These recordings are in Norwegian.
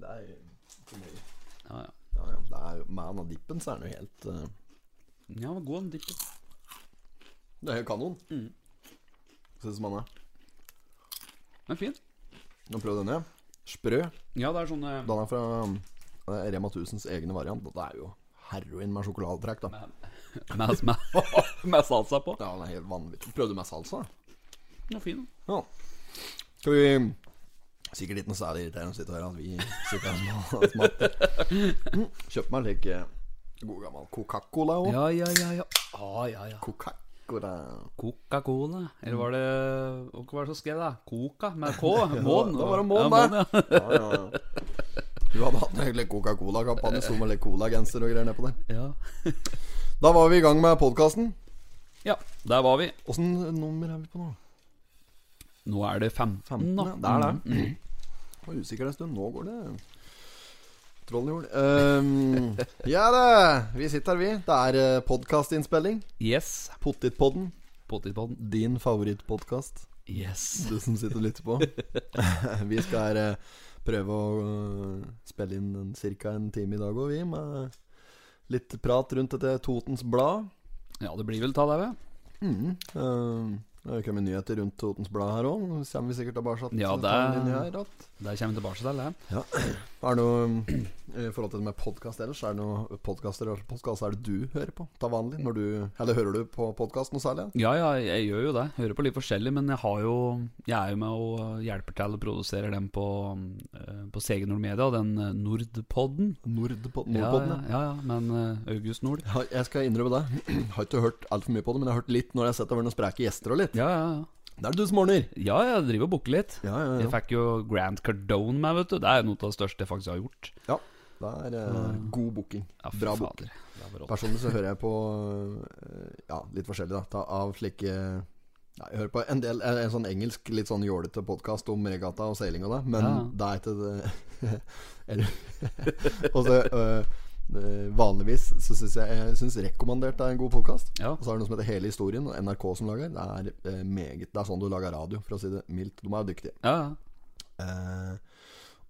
Det er for mye. Ja, ja. Ja, ja. Det er, jo- med anadippen så er den jo helt eh, Ja, var god den dippen. Det er jo kanon. Mm. Syns man er. Den er fin. Nå prøv denne. Sprø. Ja, det er sånn eh, Den er fra eh, Rema 1000s egne variant. og Det er jo heroin med sjokoladetrekk, da. med, med, med salsa på. Ja, den er helt vanvittig. Prøvde du med salsa? Den var fin. Ja. Skal vi um, Sikkert litt noe særlig irriterende å sitte her at vi sitter her og smatter. Mm, Kjøp meg litt eh, god gammel Coca-Cola òg. Ja, ja, ja. ja. Ah, ja, ja. Coca-Cola. Coca-Cola. Eller var det Hva var det som skrev det? Coca med K? Ja, Mån? det var det mån, ja, det. ja. Ja, ja, ja. Du hadde hatt en litt Coca-Cola-kampanje, sto med litt Cola-genser og greier nedpå der. Ja. Da var vi i gang med podkasten. ja, der var vi. Åssen nummer er vi på nå? Nå er det 15, 15, ja. da. Mm. Det er det. Jeg var usikker en stund. Nå går det troll i jord. Ehm, ja da, vi sitter her, vi. Det er podkastinnspilling. Yes. Pottitpodden. Potetpodden. Din favorittpodkast, Yes. du som sitter og lytter på. vi skal eh, prøve å eh, spille inn ca. en time i dag òg, vi. Med litt prat rundt dette Totens Blad. Ja, det blir vel ta deg ved. Mm. Uh, det har kommet nyheter rundt Totens Blad her òg. Kommer vi sikkert tilbake til Ja, den det- linja her, at Der kommer vi tilbake til det. Ja. Er det noe I forhold til det med podkast ellers, er det noe podkaster eller podkast er det du hører på? Ta vanlig når du Eller hører du på podkast noe særlig? Ja, ja, jeg gjør jo det. Hører på litt forskjellig, men jeg har jo Jeg er jo med og hjelper til og produserer den på, eh, på CG Nord Media, den eh, Nordpodden. Nordpod Ja, ja, Nordpodden, ja. ja, ja, men eh, August Nord. Ja, Jeg skal innrømme det. Jeg har ikke hørt altfor mye på det, men jeg har hørt litt når jeg har sett over noen spreke gjester og litt. Ja, ja, ja. Det er det du som ordner! Ja, jeg driver og booker litt. Ja, ja, Jeg ja. fikk jo Grand Cardone med, vet du. Det er noe av det største jeg faktisk har gjort. ja. Det er eh, god booking. Ja, fy Bra fader. booking. Det er bra. Personlig så hører jeg på eh, Ja, litt forskjellig, da. Ta av slike ja, jeg hører på en del eh, En sånn engelsk, litt sånn jålete podkast om regatta og seiling og det, men Ja. det er ikke det Eller Og så eh, eh, Vanligvis så syns jeg, jeg synes Rekommandert er en god podkast. Ja. Og så er det noe som heter Hele historien, og NRK som lager. Det er eh, meget Det er sånn du lager radio, for å si det mildt. De er jo dyktige. Ja, Eh,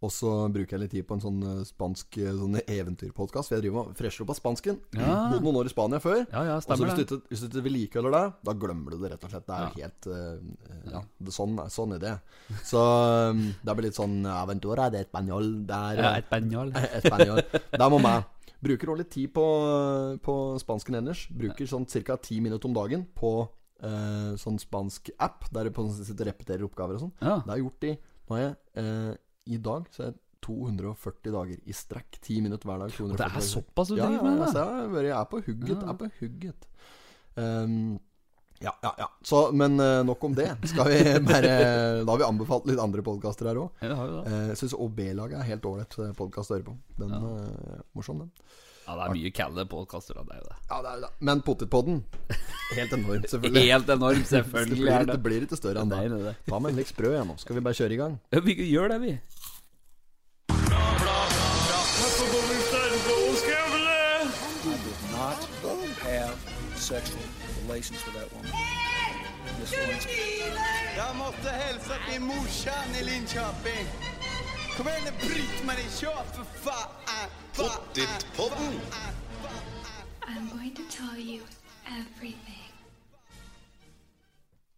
og så bruker jeg litt tid på en sånn eh, spansk eh, sånn eventyrpodkast. For jeg driver og fresher opp av spansken. Ja. Bodde noen år i Spania før. ja, ja, Og så stemmer hvis, du det. ikke- hvis du ikke vedlikeholder det, da glemmer du det rett og slett. Det er jo helt eh, eh, Ja, det, sånn, er- sånn er det. Så um, det blir litt sånn Aventura de español. Det er Ja, eh, et banjal. español. Der må meg. Bruker også litt tid på, eh, på spansken ellers. Bruker sånn ca. ti minutter om dagen på eh, sånn spansk app, der du på- sitter og repeterer oppgaver og sånn. Ja. Det har jeg gjort i Nå har jeg eh, I dag så er jeg 240 dager i strekk. 10 minutter hver dag. 240 Det er såpass du ja, ja, driver med altså, det? jeg, har vært- jeg er på hugget. Ja. Jeg er på hugget. Ehm, ja, ja, ja. Så, men eh, nok om det. Skal vi bare Da har vi anbefalt litt andre podkaster her òg. Ja, det har jo det. Jeg syns OB-laget er helt ålreit podkast å høre på. Den eh, er morsom, den. Ja, det er mye kalde podkaster av deg, det. Ja, det er jo det. Men Pottitpodden Helt enorm, selvfølgelig. Helt enormt, Det selvfølgelig blir, er det. det blir ikke større enn Nei, det. nei, nei. Ta med en litt sprø igjen nå. Skal vi bare kjøre i gang? Ja, Vi gjør det, vi. not have sexual relations with that woman. Miss Lewinsky. Jeg måtte hilse til morsan i Linköping. Kom igjen, Britt-Marie, kjør, for faen! Pottitpodden! I'm going to tell you everything.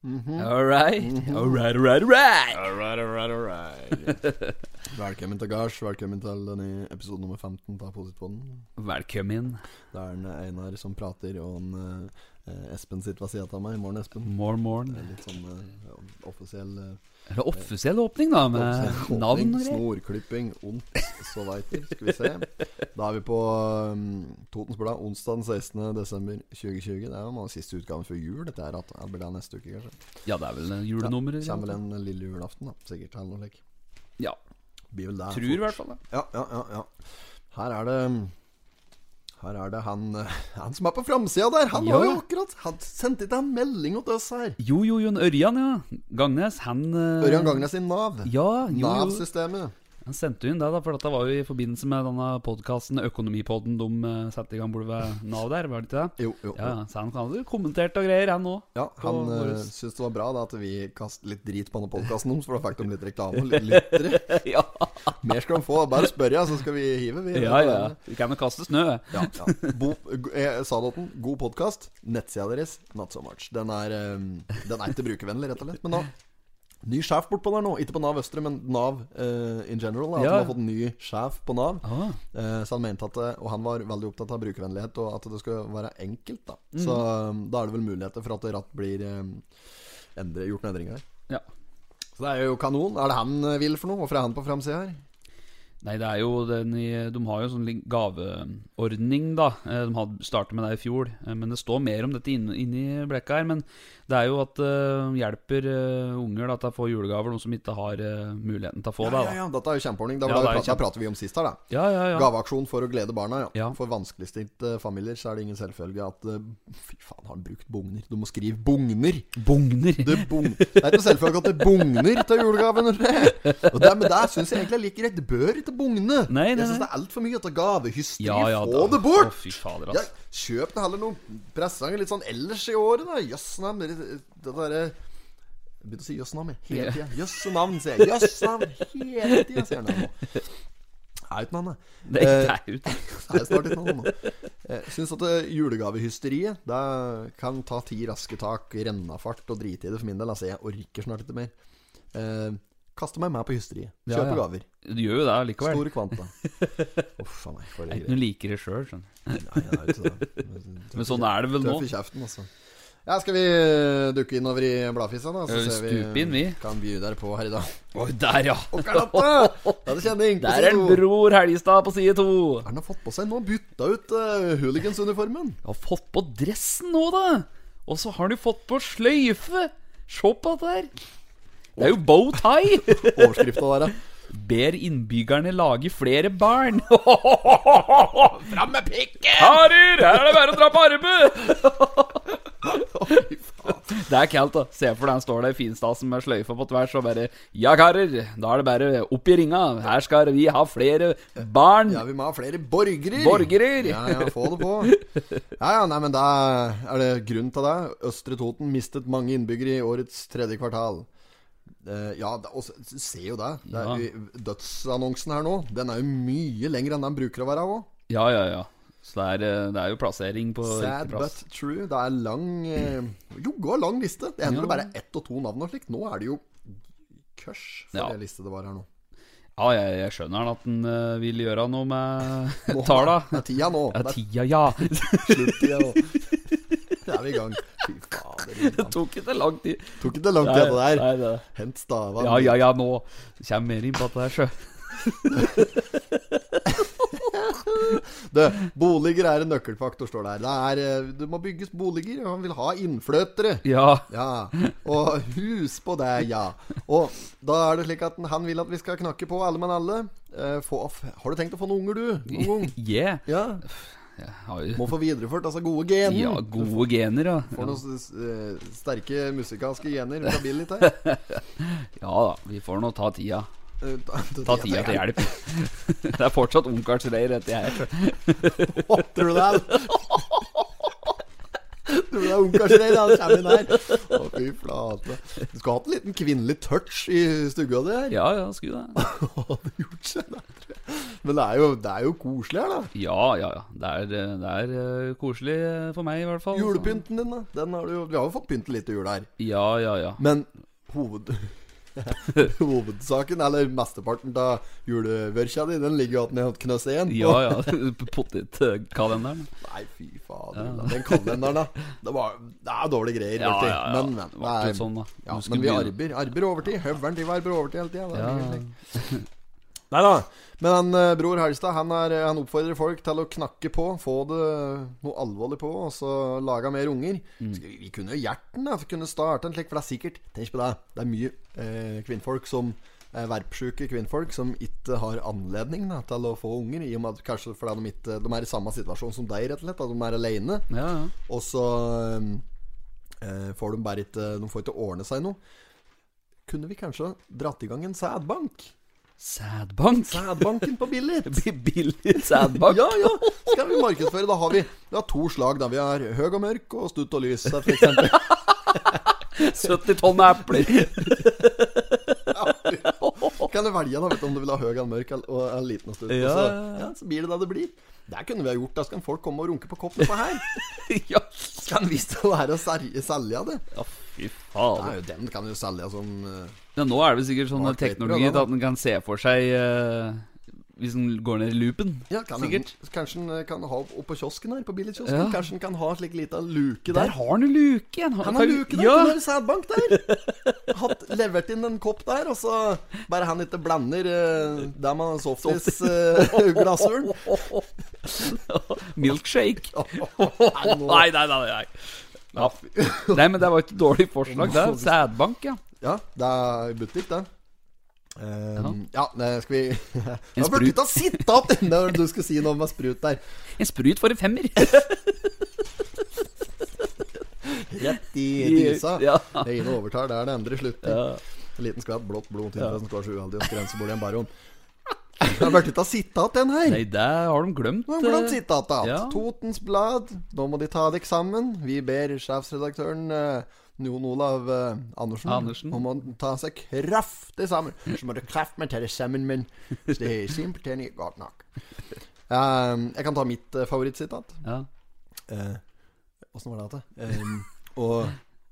All right. All right, all right, all right. Velkommen til gards. Velkommen til denne episode nummer 15 av Pottitpodden. Velkommen. Det er en Einar som prater, og en, eh, Espen sitter ved sida av meg. I morgen, Espen. Morn, morn. Det er Litt sånn eh, offisiell eh, Er det offisiell åpning, da? Med offisiell navn åpning, og greier? Snorklipping, ondt, så veit du. Skal vi se. Da er vi på um, Totens Blad onsdag den 16. desember 2020. Det er jo mange siste utgaven før jul. Dette her, at, ja, det blir det neste uke, kanskje. Ja, det er vel eh, julenummeret? Kommer vel Ja, en lille julaften, da. Sikkert. Eller noe slikt. ja. Blir vel der. Tror i hvert fall det. Ja, ja, ja, ja. Her er det Her er det han eh, Han som er på framsida der! Han Ja. har jo akkurat Han sendte ikke en melding til oss her! Jo, jo, Jon Ørjan, ja. Gangnes, han eh, Ørjan Gangnes sin Nav. Ja, jo, jo. Nav-systemet. Han sendte jo inn det, da, for dette var jo i forbindelse med denne podkasten Økonomipodden de eh, satte i gang borte ved Nav der, var det ikke det? Jo, jo. Ja, ja, så han hadde kommentert og greier, han òg. Ja, han på uh, våres. syntes det var bra da at vi kastet litt drit på denne podkasten deres, for da fikk de litt reklame og litt lyttere. ja. Mer skal han få. Bare spørre, så skal vi hive. Vi Ja, ja. Vi kan jo kaste snø. Ja, ja. Bo, eh, Sadåten, god podkast. Nettsida deres, not so much. Den er, eh, den er ikke brukervennlig, rett og slett. Men da Ny sjef bortpå der nå. Ikke på Nav Østre, men Nav eh, in general. At Ja. de har fått ny sjef på Nav. Ah, Eh, så han mente at det- Og han var veldig opptatt av brukervennlighet, og at det skulle være enkelt, da. Mm. Så eh, da er det vel muligheter for at det ratt blir eh, endre, gjort noen endringer her. ja. Så det er jo kanon. Er det han eh, vil for noe? Hvorfor er han på framsida her? Nei, det er jo den i De har jo en sånn li- gaveordning, da. Eh, De hadde startet med det i fjor. eh, Men det står mer om dette inni inn i blekka her. Men det er jo at eh, hjelper eh, unger da, til å få julegaver, noen som ikke har eh, muligheten til å få det. Ja, da. ja, ja, dette er jo kjempeordning. Da, Ja, da, det er pra- da kjempe- prater vi om sist her, da. Ja, ja, ja. Gaveaksjon for å glede barna, ja. Ja. For vanskeligstilte eh, familier så er det ingen selvfølge at eh, Fy faen, har han brukt bugner? Du må skrive bugner! Bugner! Det, bung... det er ikke selvfølgelig at det bugner til julegaven. Og det, men det syns jeg egentlig er like greit. Det bør ikke bugne. Nei, nei, jeg syns nei. det er altfor mye etter gavehysteri. Ja, ja, Få det Å, bort! fy fader, ja, altså. kjøp nå heller noen presanger litt sånn ellers i året, da. Jøssnam. det- Det derre Jeg begynte å si jøssnam jeg, hele tida. Jøssenavn, sier jeg. Jøssenavn hele tida, sier han der nå. Det er jo ikke noe annet. Eh, Det, det er jo det er snart ikke noe annet. Jeg syns at eh, julegavehysteriet Det kan ta ti raske tak, rennafart og drite i det for min del. Altså, jeg orker snart ikke mer. Eh, kaste meg med på hysteriet. Kjøpe Ja, ja. gaver. Du gjør jo det likevel. Store kvanta. Uff a meg, for Det er ei ikke greie. noe liker det sjøl, skjønner du. Nei, det er jo ikke det. Men sånn er det vel nå. Tøff i kjeften, altså. Ja, skal vi eh, dukke innover i bladfissa, da? Ja, vi stuper inn, vi. kan by dere på her i dag. Oi, der, ja! Å, Karlotte! Det er kjenning. på Der er side to. Bror Helgestad på side to. Er den har fått på seg nå? Bytta ut eh, hooligans-uniformen. Du har fått på dressen nå, da! Og så har du fått på sløyfe! Se på dette her! Det er jo bow tie! Overskrifta der, ja. Ber innbyggerne lage flere barn. Fram med pikken! Karer, her er det bare å dra på arbeid! det er kaldt, da. Se for deg han står der i finstasen med sløyfa på tvers og bare Ja, karer, da er det bare opp i ringa. Her skal vi ha flere barn. Ja, vi må ha flere borgere! Borgerer! Ja, ja, få det på. Ja, ja, nei, men da er det grunn til det. Østre Toten mistet mange innbyggere i årets tredje kvartal. Eh, ja, det- og s- se jo det. det er, Dødsannonsen her nå, den er jo mye lengre enn den bruker å være òg. Ja, ja, ja. Så det er, eh, det er jo plassering på Sad riktig plass. but true. Det er lang eh, Jo, gå lang liste. Det hender Ja. det bare er ett og to navn og slikt. Nå er det jo kørs for Ja. det liste det var her nå. Ja, jeg, jeg skjønner at han eh, vil gjøre noe med tala. Det er tida nå. Ja, Det er tida, ja. slutt-tida nå. Da er vi i gang. Fy fader. Det tok ikke lang tid. Tok ikke det langt, Nei, dette der. nei, det- Hent stava. Ja, ja, ja, nå kommer mer inn på dette her, sjø. Du, boliger er en nøkkelfaktor, står det her. Det er, eh, det må bygges boliger, og han vil ha innfløtere. Ja. Ja, og hus på det, ja. Og da er det slik at han vil at vi skal knakke på alle mann alle. Eh, Få, har du tenkt å få noen unger, du? Noen gang? Yeah. Ja. Har jo- Må få videreført altså gode gener. Ja, gode gener, ja. Får noen s- eh, sterke musikalske gener fra Bill litt her. Ja da, vi får nå ta tida. Eh, ta- Ta tida til hjelp. Det er fortsatt ungkarsreir, dette her. sjø. Å, Tror du det er Tror du det er ungkarsreir? Han kommer inn her. Å, fy flate. Du skulle hatt en liten kvinnelig touch i stua di her. Ja, ja, skulle det. Hadde gjort seg det, tror jeg. Men det er jo, det er jo koselig her, da. Ja, ja, ja. Det er, eh, det er eh, koselig eh, for meg, i hvert fall. så. Julepynten din, da. Den har du, jo- vi har jo fått pynte litt til jul her. Ja, ja, ja. Men hoved... Hovedsaken, eller mesteparten av julevørkja di, den ligger jo igjen i knøseen. Ja, ja. Potetkalenderen. Nei, fy fader. da. Den kalenderen, da. Det, var, det er dårlige greier. Ja, vet du. ja, ja. Men, men. Det var ikke det er- sånn, da. Ja, Du skulle men vi begynne- arbeider arber overtid. Høveren til arbeider overtid hele tida. Ja. Nei da. Men han, eh, bror Helstad han, er, eh, han oppfordrer folk til å knakke på, få det noe alvorlig på, og så lage mer unger. Skal Vi, vi kunne jo hjerten da, for kunne starte en slik, for det er sikkert Tenk på det, det er mye eh, kvinnfolk som eh, Verpsjuke kvinnfolk som ikke har anledning da, til å få unger, i og med at kanskje fordi de, ikke, de er i samme situasjon som deg, rett og slett. At de er aleine. Ja, ja. Og så um, eh, får de bare ikke De får ikke ordne seg noe. Kunne vi kanskje dratt i gang en sædbank? Sædbank? Sædbanken på Billit! Billig sædbank? Ja, ja! Skal vi markedsføre? Da har vi, vi har to slag. Da vi har høg og mørk og stutt og lys, for eksempel. 70 tonn med epler. Kan kan du velge da, vet du, om du vil ha høy eller mørk eller- og en liten stund. Ja. Og så, ja, så blir det det det blir. Det kunne vi ha gjort. Da skal folk komme og runke på koppen på her. ja. Skal vi stå her og ser- selge det? ja, fy Nei, faen. den kan jo selge som eh, Ja, nå er det vel sikkert sånn Mark Waid, teknologi bra, da. at den kan se for seg eh, Hvis den går ned i loopen. ja, kan Sikkert. Den, kanskje den eh, kan ha opp på kiosken her, på billigkiosken. Ja. Kanskje den kan ha en slik lita luke Der der. har han jo luke igjen. Han har luke der, Ja. ja. sædbank der. Hatt, levert inn en kopp der, og så bare han ikke blander eh, der man har eh, softis-glassuren. Milkshake. nei, nå- Nei, nei, nei. nei. Ja. Nei, men det var ikke et dårlig forslag. Det er sædbank, ja. Ja, det er butikk, det. Ehm, ja, nei, skal vi Jeg sprut. burde ikke ha sittet opp når du skulle si noe om en sprut der. En sprut for en femmer. Rett i dysa. Ja. Det ene overtar der det andre slutter. Ja. En liten skvett blått blod til som går så uheldig og grensebordet i en baron. Jeg burde ikke ha sittet igjen den her. Nei, det har de glemt. Nå har de glemt eh, sittet igjen. ja. Totens Blad, nå må de ta dere sammen. Vi ber sjefsredaktøren eh, Jon Olav eh, Andersen, Andersen. om å ta seg kraftig sammen. Så må du kraft meg til det sammen, men det er simpelthen ikke godt nok. Ehm, jeg kan ta mitt uh, favorittsitat. Ja. Eh, Åssen var det igjen? og,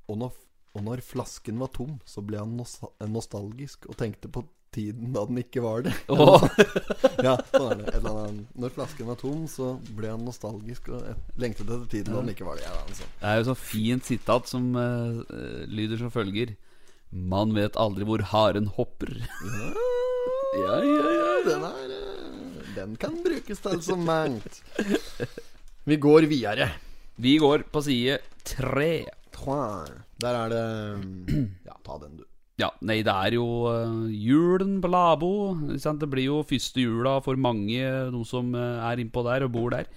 og, når, og når flasken var tom, så ble han nos nostalgisk og tenkte på tiden da den ikke var det. Åh, Ja, sånn er det. Et eller annet. Når flasken var tom, så ble han nostalgisk og et- lengtet etter tiden da altså. den ikke var det. Ja, det er noe sånt. det er jo så fint sitat som eh, eh, lyder som følger. Man vet aldri hvor haren hopper. Ja, ja, ja. Den, er, eh, den kan brukes til så mangt. Vi går videre. Vi går på side tre. Trois. Der er det ehm, Ja, ta den, du. Ja, nei, det er jo eh, julen på Labo. Ikke sant? Det blir jo første jula for mange, de som eh, er innpå der og bor der.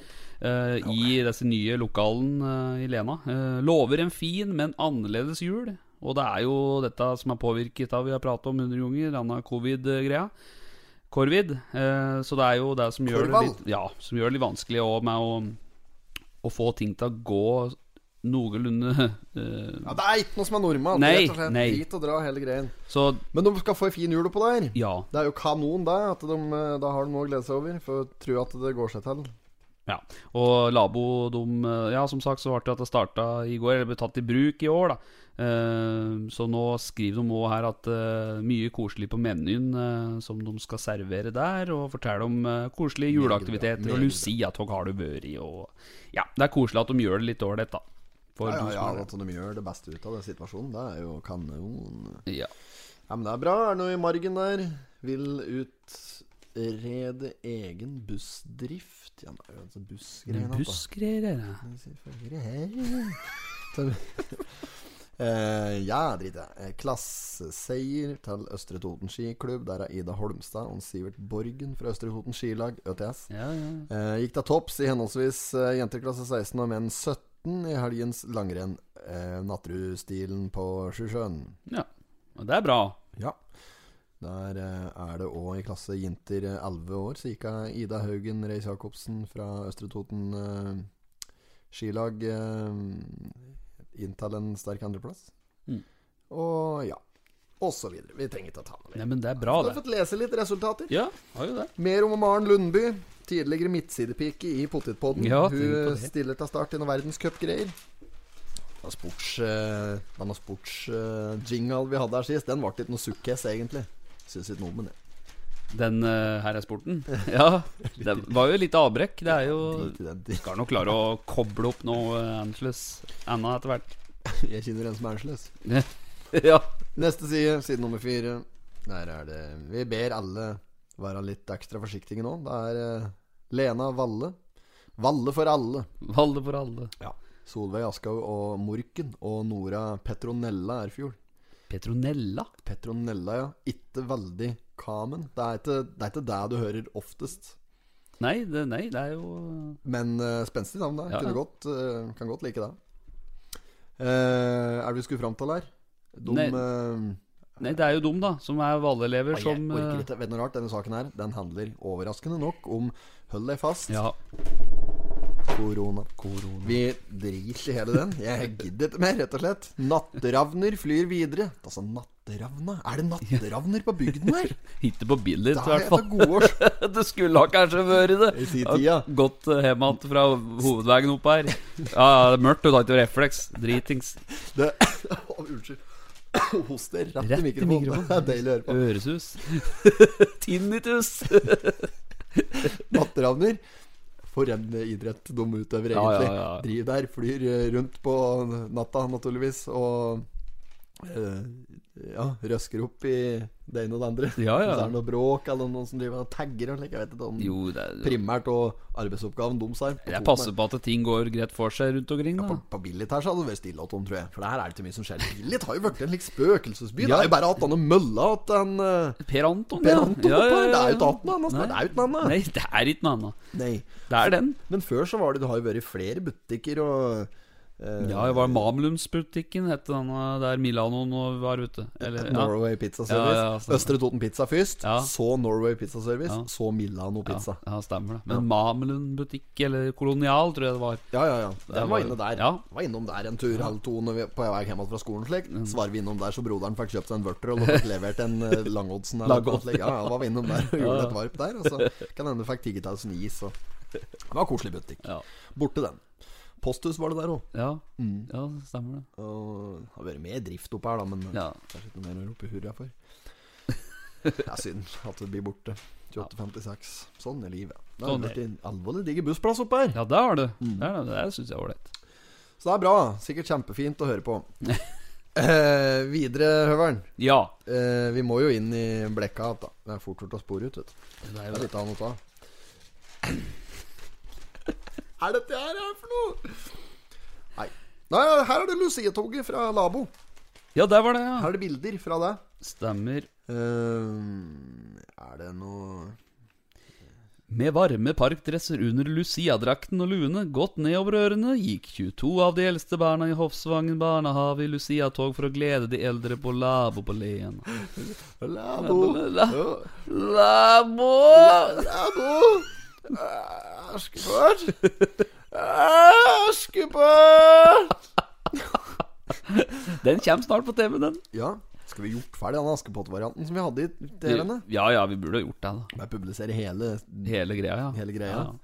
eh, I disse nye lokalene eh, i Lena. Eh, lover en fin, men annerledes jul. Og det er jo dette som er påvirket av vi har pratet om hundre ganger, denne covid-greia. Corvid. eh, så det er jo det som gjør det Korvald. litt, ja, som gjør det litt vanskelig også med å, å få ting til å gå noenlunde eh, Ja, Det er ikke noe som er normalt. Nei, rett og slett. nei. Dit og dra hele greien. Så Men de skal få ei fin jul oppå der. ja. Det er jo kanon, det. At de, eh, da har de noe å glede seg over. For jeg tror at det går seg til. Ja, og Labo de, eh, Ja, som sagt så ble det at det starta i går, eller ble tatt i bruk i år, da. Eh, Så nå skriver de òg her at eh, mye koselig på menyen eh, som de skal servere der, og fortelle om eh, koselige juleaktiviteter. Og meget bra. Lucia-tog har du vært i, og Ja, det er koselig at de gjør det litt ålreit, da. For Ja, ja, de ja, som At er- de gjør det beste ut av den situasjonen, det er jo kanon. ja. Ja, men det er bra. Er det noe i margen der? Vil utrede egen bussdrift. Ja, det er jo altså bussgreier. da. Bussgreier, er det. Selvfølgelig. Eh, ja, drit i det. Eh, Klasseseier til Østre Toten skiklubb. Der er Ida Holmstad og Sivert Borgen fra Østre Toten skilag, ØTS. Ja, ja. Eh, gikk til topps i henholdsvis eh, jenteklasse 16 og menn 17 i helgens langrenn. Eh, Natterudstilen på Sjusjøen. ja. Og det er bra. Ja. Der eh, er det òg i klasse jenter eh, 11 år, så gikk jeg Ida Haugen Reis Jacobsen fra Østre Toten eh, skilag eh, inn til en sterk andreplass. Mm. Og ja. Og så videre. Vi trenger ikke å ta noe mer. Nei, men det er Så bra, Du har det. fått lese litt resultater. Ja, har jo det. Mer om Maren Lundby. Tidligere midtsidepike i Potetpodden. Ja, tenk på Hun det. stiller til start i noen verdenscupgreier. Den sportsjingle sports, eh, jingle vi hadde her sist, den ble ikke noe sukkes, egentlig. Syns ikke noe om det. Den eh, her er sporten. Ja. Det var jo litt avbrekk. Det er jo Drit i den. Skal nok klare å koble opp noe eh, annerledes ennå etter hvert. Jeg kjenner en som er annerledes. ja. Neste side, side nummer fire. Der er det Vi ber alle være litt ekstra forsiktige nå. Det er eh, Lena Valle. Valle for alle. Valle for alle. Solveig Aschhaug og Morken og Nora Petronella Erfjord. Petronella? Petronella, ja. Ikke veldig kamen. Det er ikke det, er ikke det du hører oftest. Nei, det, nei, det er jo Men eh, spenstig navn, da. Ja, Kunne ja. godt, eh, kan godt like det. Eh, er det vi skulle fram til her? De Nei. eh, Nei, det er jo dum, da. Som er Valle-elever jeg som orker eh, ikke. Vet du noe rart? Denne saken her Den handler overraskende nok om Hold deg fast. Ja. Korona. Vi driter i hele den. Jeg gidder ikke mer, rett og slett. Natteravner flyr videre. Altså, natteravna? Er det natteravner på bygden her? Ikke på bilder, i Da er hvert det fall. gode år. Det skulle ha kanskje vært det. I sin Ja, tida. Gått eh, hjem igjen fra hovedveien opp her. Ja, ja, det er mørkt, du tar ikke refleks. Dritings. Det... Å, unnskyld. Hoster rett, Rett i i mikrofonen. mikrofonen. Det er deilig å høre på. Øresus. Tinnitus. Natteravner. For en idrett de utøver, Ja, ja, egentlig. ja. Driver der, flyr eh, rundt på natta, naturligvis, og eh, ja, røsker opp i det ene og det andre. Ja, Hvis det ja. er noe bråk, eller noen som driver og tagger og slik, jeg vet ikke om Jo, det er primært og arbeidsoppgaven deres er Jeg passer på at ting går greit for seg rundt omkring, På, da. på Billit her så hadde det vært stille Tom, tror jeg. For det her er det ikke mye som skjer. Billit har jo blitt en slik spøkelsesby. Det er jo bare at han og mølla at han eh, Per Anton, Per Anton Ja, oppe her. Det er ja, ja, ja. jo ikke annet enn han. Det er jo ikke noe annet. Nei, det er ikke noe annet. Nei. Det er den. Men før så var det Det har jo vært flere butikker og eh, Ja, det var Mamlumsbutikken, het den eh, der Milano nå var, vet du. Eller, ja. Norway Pizza Service. Ja, ja, stemmer. Østre Toten Pizza først, Ja. så Norway Pizza Service, Ja. så Milano Ja, Pizza. altså. ja, stemmer det. Men Mamelund butikk, eller Kolonial, tror jeg det var. Ja, ja, ja. Den var var- inne der. ja. Var innom der en tur, halv to når vi på vei hjem fra skolen. Slik. Så var vi innom der så broderen fikk kjøpt seg en vørter og fikk levert en eh, langoddsen. eller noe Langodd, slik. Ja, ja, var vi innom der og gjorde Ja, ja. et varp der. Og så kan hende fikk 10 000 is. Og... Det var koselig butikk. Ja. Borte den. Posthus var det der Mm. òg. Ja, ja stemmer det. Og har vært med i drift oppe her, da, men Ja. Kanskje ikke noe mer å rope hurra for. Det er synd at det blir borte. 2856. Sånn er livet. Det har Sånn er blitt en alvorlig diger bussplass oppe her. Ja, det har du. Det, er det. det syns jeg er ålreit. Så det er bra. Sikkert kjempefint å høre på. eh, videre, Høveren. Ja. Eh, vi må jo inn i blekka igjen, da. Det er fort gjort å spore ut, vet du. Det Det er jo er det. litt annet å ta. er dette her er for noe? Nei. Nei, her er det Lucia-toget fra Labo. Ja, der var det, ja. Her er det bilder fra det. Stemmer. Eh, er det noe Med varme parkdresser under Lucia-drakten og luene godt nedover ørene gikk 22 av de eldste barna i Hofsvangen barnehage i Lucia-tog for å glede de eldre på labo på Lien. Labo. La- Ja, Labo! Labo. Eh, Askepott. Eh, Askepott. Den kommer snart på TV, den. Ja, skal vi gjort ferdig den Askepott-varianten som vi hadde i TV-ene? Ja, ja, vi burde ha gjort det, da. Jeg publiserer hele Hele greia, ja. Hele greia. Ja.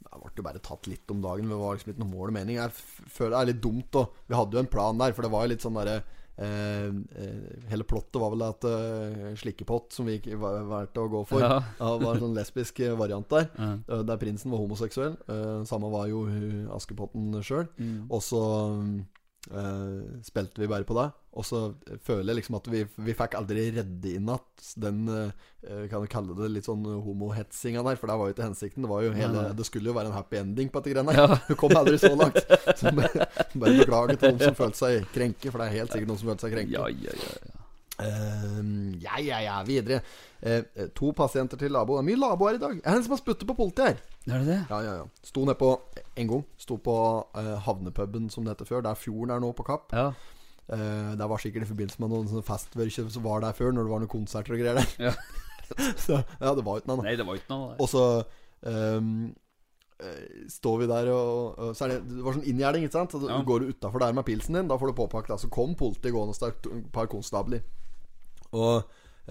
Det ble jo bare tatt litt om dagen. men Det var liksom ikke noe mål og mening. Jeg f- føler det er litt dumt. da Vi hadde jo en plan der, for det var jo litt sånn derre eh, eh, Hele plottet var vel at eh, slikkepott, som vi ikke var- valgte å gå for, Ja. ja, var en sånn lesbisk eh, variant der. Ja. eh, Der prinsen var homoseksuell. eh, Samme var jo eh, Askepotten sjøl. Mm. Og så mm, eh, spilte vi bare på det. Og så føler jeg liksom at vi, vi fikk aldri redde inn at den eh, Kan du kalle det litt sånn homohetsinga der, for det var jo ikke hensikten. Det, var jo hele, Nei, nei. det skulle jo være en happy ending på dette greiene. her. Vi kom aldri så langt. Så bare bare beklager til noen som følte seg krenket, for det er helt sikkert noen som følte seg krenket. Ja, ja, ja, ja. Eh, ja, ja, ja, videre. Eh, eh, to pasienter til labo. Det er mye labo her i dag. Det er en som har spyttet på politiet her. Er det det? Ja, ja, ja. Sto ned på En gang. Sto på eh, havnepuben som det heter før. Der fjorden er nå, på Kapp. Ja. Eh, det var sikkert i forbindelse med noen sånne festvørkjer som var der før, når det var noen konserter og greier der. Ja. Så ja, det var jo ikke noe annet. Nei, det var ikke noe der. Og så ehm, eh, står vi der og, og så er det, det var sånn inngjerding, ikke sant? Så du Ja. går du utafor der med pilsen din, da får du påpakket. da. Så kom politiet gående og et par konstabler. Og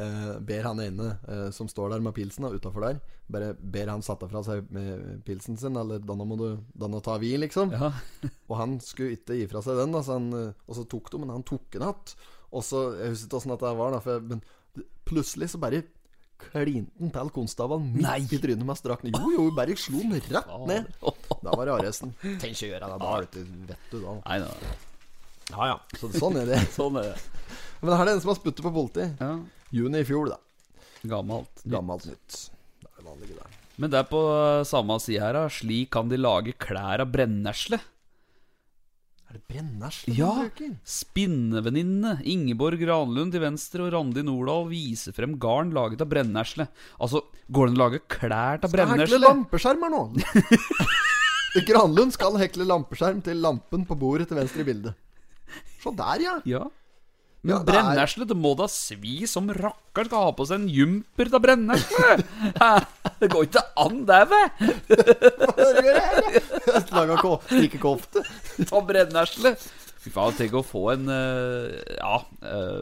eh, ber han ene eh, som står der med pilsen da, utafor der, bare ber han sette fra seg eh, pilsen sin, eller 'Danna må du Danna ta vi', liksom. Ja. Og han skulle ikke gi fra seg den, da, så han, eh, og så tok det, men han tok den att. Og så, Jeg husker ikke åssen dette var, da, for, jeg- men plutselig så bare klinte han til konstabelen midt i trynet med strak Jo, jo, bare slo han rett ned. Da var det arresten. Tenk å gjøre det da, vet du, vet du da. Nei, nei. Ja, ja. Så, sånn er det. Sånn er det. Men her er det en som har spyttet på politiet. Ja. Juni i fjor, da. Gammelt. Gammelt nytt. Det er det vanlige, det. Men det er på eh, samme side her, da. Slik kan de lage klær av brennesle. Er det brennesle Ja. de bruker? Spinnevenninne Ingeborg Granlund til venstre og Randi Nordahl viser frem garn laget av brennesle. Altså, går det an å lage klær av Skal hekle brennesle? lampeskjermer nå! Granlund skal hekle lampeskjerm til lampen på bordet til venstre i bildet. Se der, ja. Ja. Men Ja, det er- brennesle, det må da svi som rakkeren skal ha på seg en jumper av brennesle! Hæ? det går ikke an, det, vel? Hører du det? Laga ko- strikkekofte. Ta brennesle! Fy faen, tenk å få en eh, Ja uh,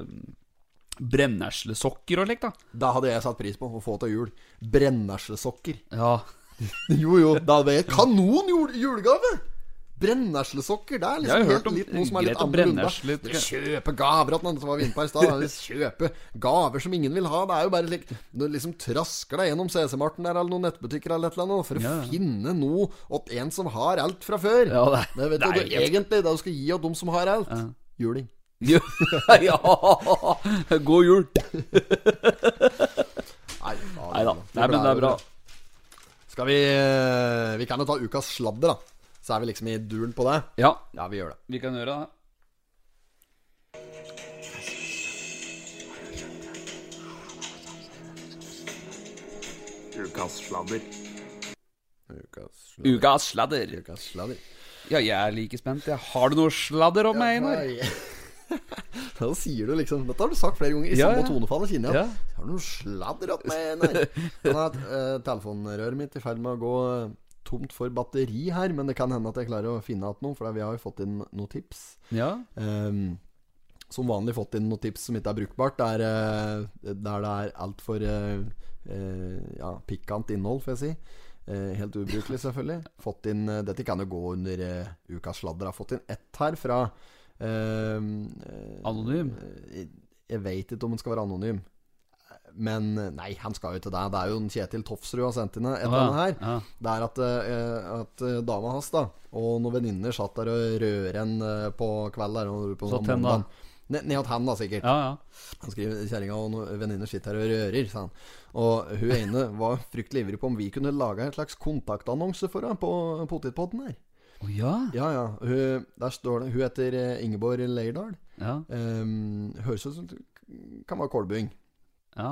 Brenneslesokker og slikt, da. Da hadde jeg satt pris på å få til jul. Brenneslesokker. Ja. Jo, jo, da hadde jeg kanon jul julegave! Brenneslesokker. Det er Jeg har liksom hørt helt om- litt noe som er litt greit om annerledes. brennesle- Dere Kjøpe gaver at man som var vi inne på her i stad. Dere Kjøpe gaver som ingen vil ha. Det er jo bare slik Du liksom trasker deg gjennom CC-marten der eller noen nettbutikker eller et eller annet for å Ja. finne noe åt en som har alt fra før. Ja, det- det vet det du, er du helt- egentlig det du skal gi åt dem som har alt. Juling. ja! God jul! Nei, Nei da. Nei, men det er bra. Skal vi eh, Vi kan jo ta ukas sladder, da. Så er vi liksom i duren på det. Ja, Ja, vi gjør det. vi kan gjøre det. Ukas sladder. Ukas sladder. Ukas sladder. Ukas sladder. Ja, jeg er like spent. Jeg har du noe sladder om meg, Einar? Nei. Da sier du liksom Dette har du sagt flere ganger i Ja, samme ja. tonefall. Kjenner jeg Ja. Har du noe sladder opp med Nei. Sånn at, eh, telefonrøret mitt er i ferd med å gå eh, tomt for batteri her, men det kan hende at jeg klarer å finne igjen noe, for vi har jo fått inn noen tips. Ja. Ehm, som vanlig fått inn noen tips som ikke er brukbart, der, eh, der det er altfor uh, ja, pikant innhold, får jeg si. Eh, helt ubrukelig, selvfølgelig. Fått inn, eh, dette kan jo gå under eh, ukas sladder. Har fått inn ett her fra ehm, eh, Anonym. eh, Jeg veit ikke om han skal være anonym. Men eh, nei, han skal jo til deg. Det er jo en Kjetil Tofsrud har sendt inn et eller annet her. Ja. Det er at, eh, at eh, dama hans da og noen venninner satt der og rører en eh, på kveld der. og på Satt hen da? mandagen. Ned ned at hen, da, sikkert. Ja, ja. Han skriver kjerringa og noen venninner sitter her og rører, sa han. Og hun ene var fryktelig ivrig på om vi kunne lage en slags kontaktannonse for henne på potetpotten her. Å ja. Ja, ja. Hun, der står det Hun heter eh, Ingeborg Leirdal. Ja. Um, høres ut som kan være kålbuing. ja.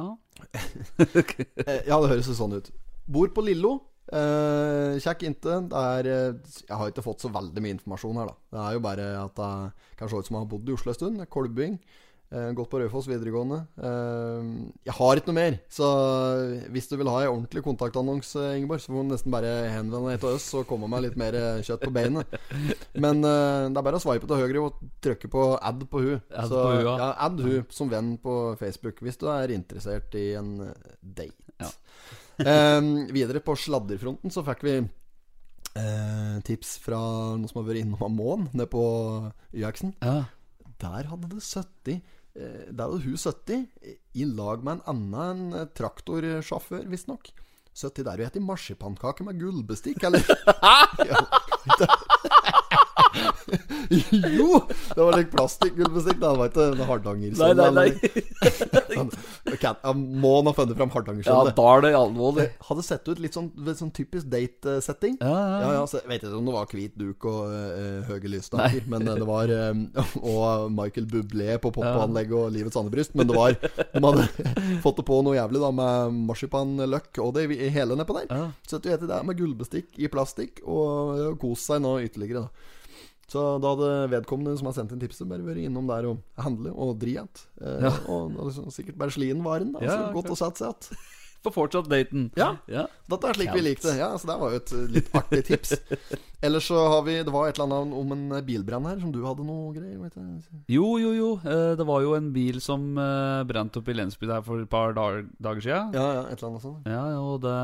Eh, Ja, det høres jo sånn ut. Bor på Lillo. Eh, kjekk inte. Det er eh, Jeg har ikke fått så veldig mye informasjon her, da. Det er jo bare at jeg kan se ut som jeg har bodd i Oslo en stund. Kolbying. Eh, gått på Raufoss videregående. Eh, jeg har ikke noe mer, så eh, hvis du vil ha ei ordentlig kontaktannonse, Ingeborg, så får du nesten bare henvende deg til oss og komme med litt mer eh, kjøtt på beinet. Men eh, det er bare å sveipe til høyre og trykke på add på hun. Add så, på hun, ja. ja, add hun som venn på Facebook hvis du er interessert i en eh, date. Ja. Ehm, videre på sladderfronten så fikk vi eh, tips fra noen som har vært innom Amon nede på YX-en. ja. Der hadde det 70 eh, Der hadde hun 70 i lag med en annen eh, traktorsjåfør, visstnok. 70 der og spiser marsipankake med gullbestikk, eller? Ja. jo! Det var litt plastikkgullbestikk. Det var ikke Nei, hardangersønn. nei, nei. Må han ha funnet fram Ja, hardangersønn? da er det alvorlig. hadde sett ut litt sånn, litt sånn typisk date-setting. Ja, ja, ja. ja, så jeg vet ikke om det var hvit duk og eh, høye lysstaker, men eh, det var eh, Og Michael Bublé på popanlegg og Livets andebryst, men det var De hadde fått det på noe jævlig da med marsipanløk og det i hele nedpå der. Ja. Så du vet det med gullbestikk i plastikk, og eh, kos seg nå ytterligere, da. Så da hadde vedkommende som har sendt inn tipset, bare vært innom der og handle og dri igjen. Eh, Ja. Og og liksom, sikkert bare sli inn varen, da. Ja, så godt å sette seg igjen. Får fortsatt daten. Ja. ja. Dette er slik vi Kaldt. likte. Ja, så det var jo et eh, litt artig tips. Ellers så har vi Det var et eller annet om en eh, bilbrann her, som du hadde noe greier vet jeg. Jo, jo, jo. Eh, Det var jo en bil som eh, brant opp i Lensby der for et par dag- dager siden. Ja, ja, et eller annet sånt. Ja, og det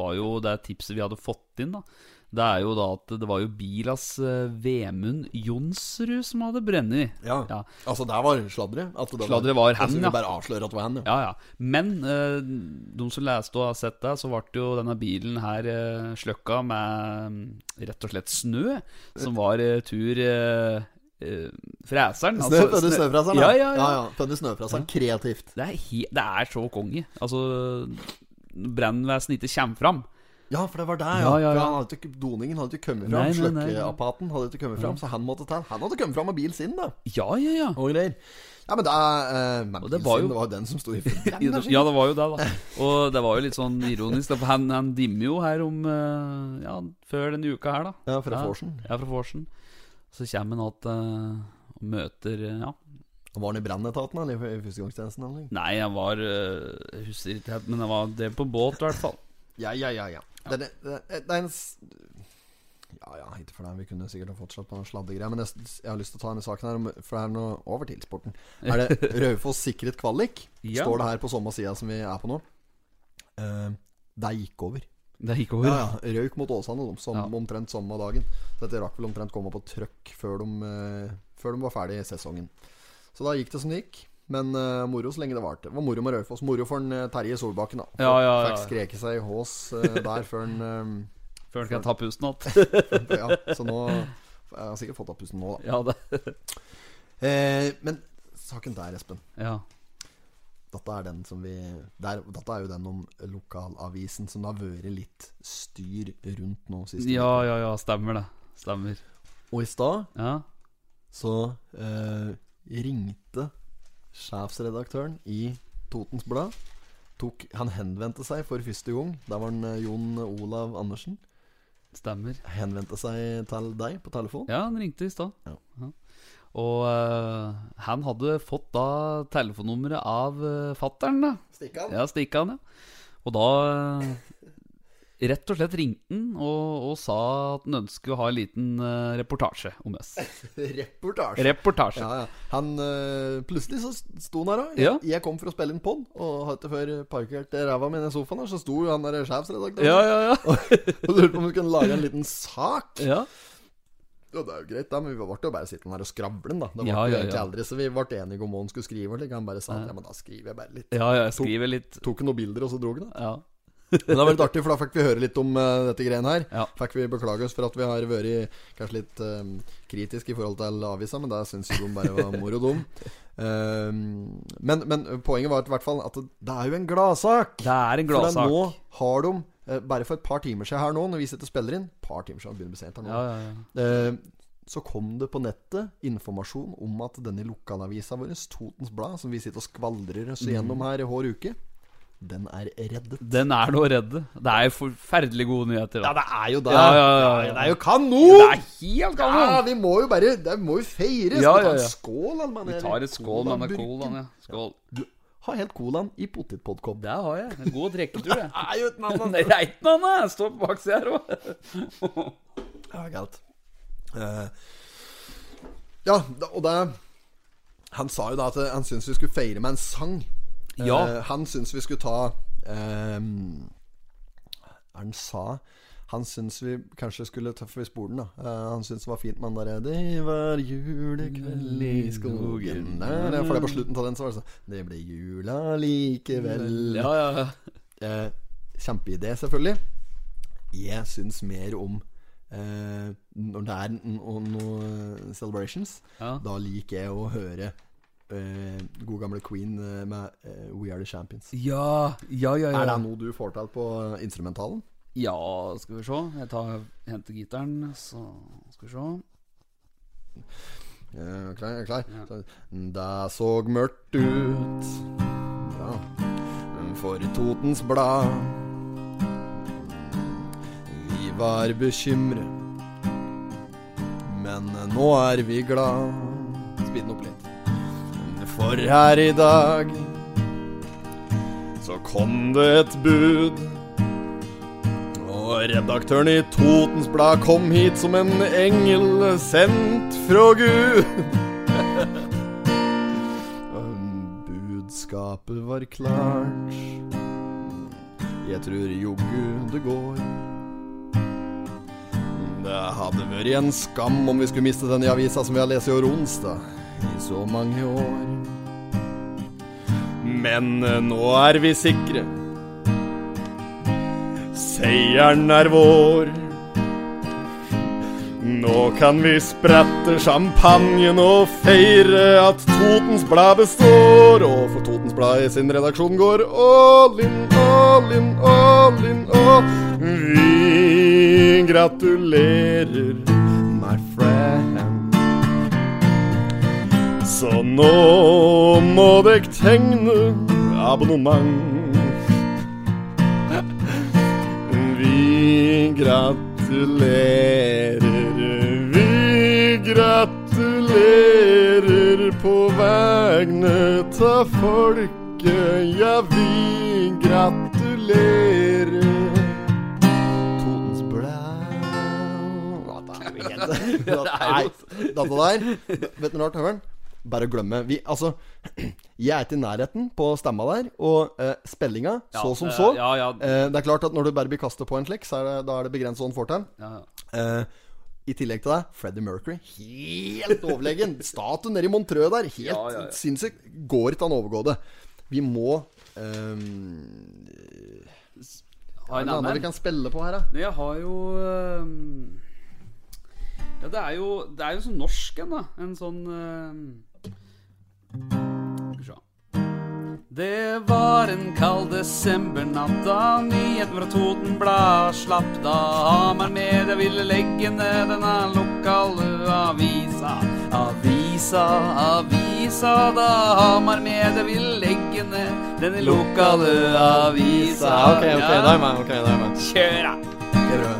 var jo det tipset vi hadde fått inn, da. Det er jo da at det var jo bilas eh, Vemund Jonsrud som hadde brennet. Ja. Ja. Altså, der var sladderet. At det Sladderet var altså, hen, vi ja. bare avslører at det var hen, ja. Ja, ja. Men eh, de som leste og har sett det, så ble jo denne bilen her eh, sløkka med mm, rett og slett snø, som var eh, tur eh, eh, Freseren. Snø, altså, Fødde snø- snøfraseren, Ja, ja, ja, ja. ja. Fødde snøfraseren. Kreativt. Det er, he det er så konge. Altså, brannvesenet ikke kommer fram. Ja, for det var der, ja. Ja, ja, ja. For han hadde ikke, doningen hadde ikke kommet fram. Nei, nei, nei, ja. Sløkkeapparaten hadde ikke kommet fram, så han måtte ta Han hadde kommet fram med bil sin, da. Ja, ja, ja. Og greier. Ja, men det er eh, men Og det bil var sin, jo- det var den som sto i Ja, det var jo det, da. Og det var jo litt sånn ironisk. da, For han, han dimmer jo her om eh, Ja, før denne uka her, da. Ja, fra Forsen. Ja, fra Forsen. Så kommer han att eh, og møter eh, Ja. Var han i brannetaten, eller i førstegangstjenesten? eller? Nei, han var eh, Jeg husker ikke helt, men han var drevet på båt, i hvert fall. Ja, ja, ja, ja. Det, er- det, er- det er en s- Ja ja, ikke for det. Vi kunne sikkert ha fortsatt på noen sladdegreier. Men jeg, jeg har lyst til å ta denne saken her, om- for det er noe over til sporten. Er det Raufoss sikret kvalik? Ja. Står det her på samme sida som vi er på nå. Uh, det gikk over. Det gikk over. Ja, ja. Røyk mot Åsane de, som, Ja. omtrent samme dagen. Så dette rakk vel omtrent komme på trøkk før de, eh, før de var ferdig i sesongen. Så da gikk det som det gikk. Men eh, moro så lenge det varte. Det var moro med Raufoss. Moro for en, eh, Terje Solbakken, da. Ja, ja, Fikk ja. skreket seg i hås eh, der før han Før han kan ta pusten igjen. eh, Ja, så nå Jeg har sikkert fått av pusten nå, da. Ja, det Eh, men saken der, Espen. Ja. Dette er, den som vi, der, dette er jo den om lokalavisen som det har vært litt styr rundt nå sist. ja, ja, ja. Stemmer det. Stemmer. Og i stad Ja. så eh, ringte sjefsredaktøren i Totens Blad. Tok, han henvendte seg for første gang. Der var han eh, Jon Olav Andersen. Stemmer. Henvendte seg til deg på telefon. Ja, han ringte i stad. Ja. Ja. Og eh, han hadde fått da telefonnummeret av uh, fattern, da. Stikk av. Ja, Stikkan, ja. Og da eh, rett og slett ringte han og, og sa at han ønsket å ha en liten eh, reportasje om oss. Reportasje. Reportasje. ja, ja. Han eh, Plutselig så sto han her òg. Ja. Jeg kom for å spille inn pod, og hadde før parkert ræva mi i sofaen her, så sto han der sjefsredaktøren Ja, ja, ja. og lurte på om vi kunne lage en liten sak. ja. Ja, det er jo greit, da, men vi ble jo bare sittende her og skravle, da. Det ble Ja, jo ja, egentlig ja. aldri, så vi ble enige om hva han skulle skrive. Like. Han bare sa at ja, men da skriver jeg bare litt. Ja, ja, jeg skriver litt Tok han noen bilder, og så drog han. da. Ja. Men det var litt artig, for da fikk vi høre litt om eh, dette greiene her. Ja. Fikk vi beklage oss for at vi har vært kanskje litt um, kritiske i forhold til avisa, men det syns jo de bare var moro dum. Um, men, men poenget var at, i hvert fall at det er jo en gladsak. Det er en For da gladsak. nå har de, eh, bare for et par timer siden her nå, når vi sitter og spiller inn Par timer siden, det begynner å bli sent her nå. Ja, ja, ja. Eh, Så kom det på nettet informasjon om at denne lokalavisa vår, Totens Blad, som vi sitter og skvaldrer oss igjennom her i hver uke, den er reddet. Den er nå redde. Det er jo forferdelig gode nyheter. Da. det er jo Ja, ja, ja, ja. Det er jo kanon! Det er helt Ja, gammel! vi må jo bare Det må jo feires. Ja, Vi tar ja, en ja. Skål, Alman. Vi tar et skål med denne colaen. Ja. Skål. Har helt colaen i potetpodkopp. Der har jeg. En god drikketur, jeg. er jo et navn, Nei, Reiten han er! Står på baksida her òg. Ja, galt. Eh, ja, da- og det Han sa jo da at eh, han syntes vi skulle feire med en sang. Eh, Ja. han syntes vi skulle ta eh, Hva han sa han syntes vi kanskje skulle tøffe i spolen, da. Eh, han syntes det var fint med den derre Det var julekveld i Mm. skogen der», For det er på slutten av den, så var det sånn Det ble jula likevel. Ja, ja, ja. Eh, kjempeidé, selvfølgelig. Jeg syns mer om eh, Når det er n- n- noe celebrations, Ja. da liker jeg å høre eh, god gamle Queen eh, med eh, We Are The Champions. Ja, ja, ja, Er det ja. noe du får til på instrumentalen? ja skal vi se. Jeg tar, henter gitaren, så skal vi se. Ja, jeg er klar, jeg er klar. Så, Det så mørkt ut ja. Mm, for Totens Blad. Vi var bekymret, men eh, nå er vi glad. Speed den opp litt. Mm, For her i dag så kom det et bud. Og redaktøren i Totens Blad kom hit som en engel sendt fra Gud. Um, Budskapet var klart. Jeg tror joggu det går. Det hadde vært en skam om vi skulle miste denne avisa som vi har lest i år onsdag i så mange år. Men eh, nå er vi sikre. Seieren er vår. Nå kan vi sprette champagnen og feire at Totens Blad består. Og for Totens Blad i sin redaksjon går all in, all in, all in, all Vi gratulerer, my friend. Så nå må dere tegne abonnement. Vi gratulerer, vi gratulerer på vegne ta folket. Ja, vi gratulerer. Totens Blad. Nei, dette der Vet du noe rart, Høveren? Bare glemme. Vi, altså, jeg er ikke i nærheten på stemma der, og eh, spillinga, så som så. Ja, ja, Eh, det er klart at når du bare blir kastet på en slik, så er det, da er det begrenset hva han får til. ja, ja. Eh, I tillegg til deg, Freddie Mercury. Helt overlegen. Statuen nede i Montreux der. Helt Ja, ja, ja. sinnssykt. Går ikke an å overgå det. Vi må eh, ehm, Ha Er det noe en annet annen. vi kan spille på her, da? Men jeg har jo øhm, Ja, det er jo Det er jo sånn norsk en, da. En sånn øhm, Skal vi se. Det var en kald desembernatt da nyheten fra Totenblad slapp. Da Hamar Media ville legge ned denne lokale avisa. Avisa, avisa, da Hamar Media ville legge ned denne lokale avisa. Ja. meg. ok, det er meg Kjør, da! Eh,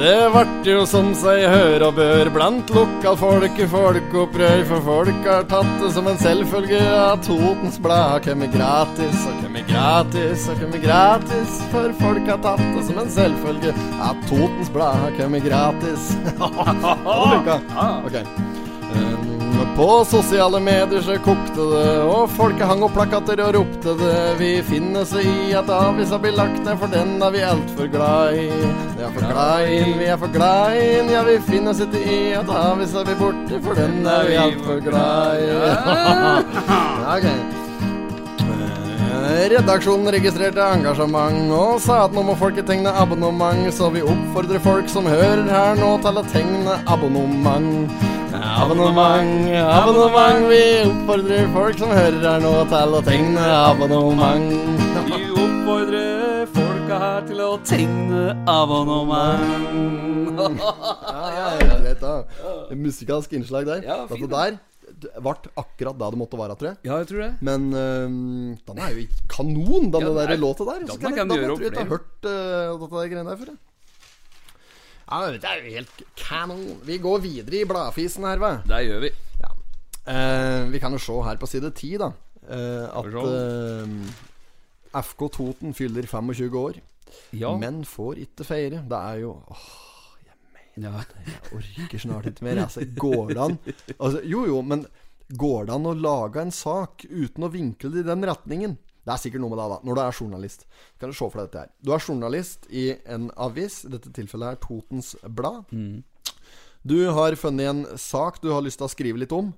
Det vart jo som seg hør og bør blant lokalfolket folkeopprør, for folk har tatt det som en selvfølge at Totens Blad har kommet gratis og kommet gratis og kommet gratis, for folk har tatt det som en selvfølge at Totens Blad har kommet gratis. det funka. Ok. Um, På sosiale medier så kokte det, og folket hang opp plakater og ropte det. Vi finner oss i at avisa blir lagt ned, for den er vi altfor glad i. Vi er for glad i den, vi er for glad i den, ja vi finner oss ikke i at avisa blir borte, for den er vi altfor glad i. Ja, ok. Eh, Redaksjonen registrerte engasjement og sa at nå må folket tegne abonnement, så vi oppfordrer folk som hører her nå til å tegne abonnement. Abonnement, abonnement, vi oppfordrer folk som hører her nå til å tegne abonnement. Vi oppfordrer folka her til å tegne abonnement. Ja, ja, greit, da. Musikalsk innslag der. Ja, fin, Dette der ble akkurat det det måtte være, tror jeg. Ja, jeg tror det. Men øhm, den er jo i kanon, den Ja, den der er- låta der. den Så kan jeg, kan da du gjøre tror jeg opp ikke jeg har hørt øh, dette der greiene der før. jeg. Ja, men det er jo helt kanon. Vi går videre i bladfisen her, hva. Det gjør vi. Ja. Eh, vi kan jo se her på side 10, da. eh, at Skal vi eh, FK Toten fyller 25 år, Ja. men får ikke feire. Det er jo åh, ja. Jeg orker snart ikke mer. Altså, går det an altså, Jo, jo, men går det an å lage en sak uten å vinkle det i den retningen? Det er sikkert noe med deg, da. Når du er journalist. Kan du se for deg dette her. Du er journalist i en avis, i dette tilfellet her Totens Blad. Du har funnet en sak du har lyst til å skrive litt om.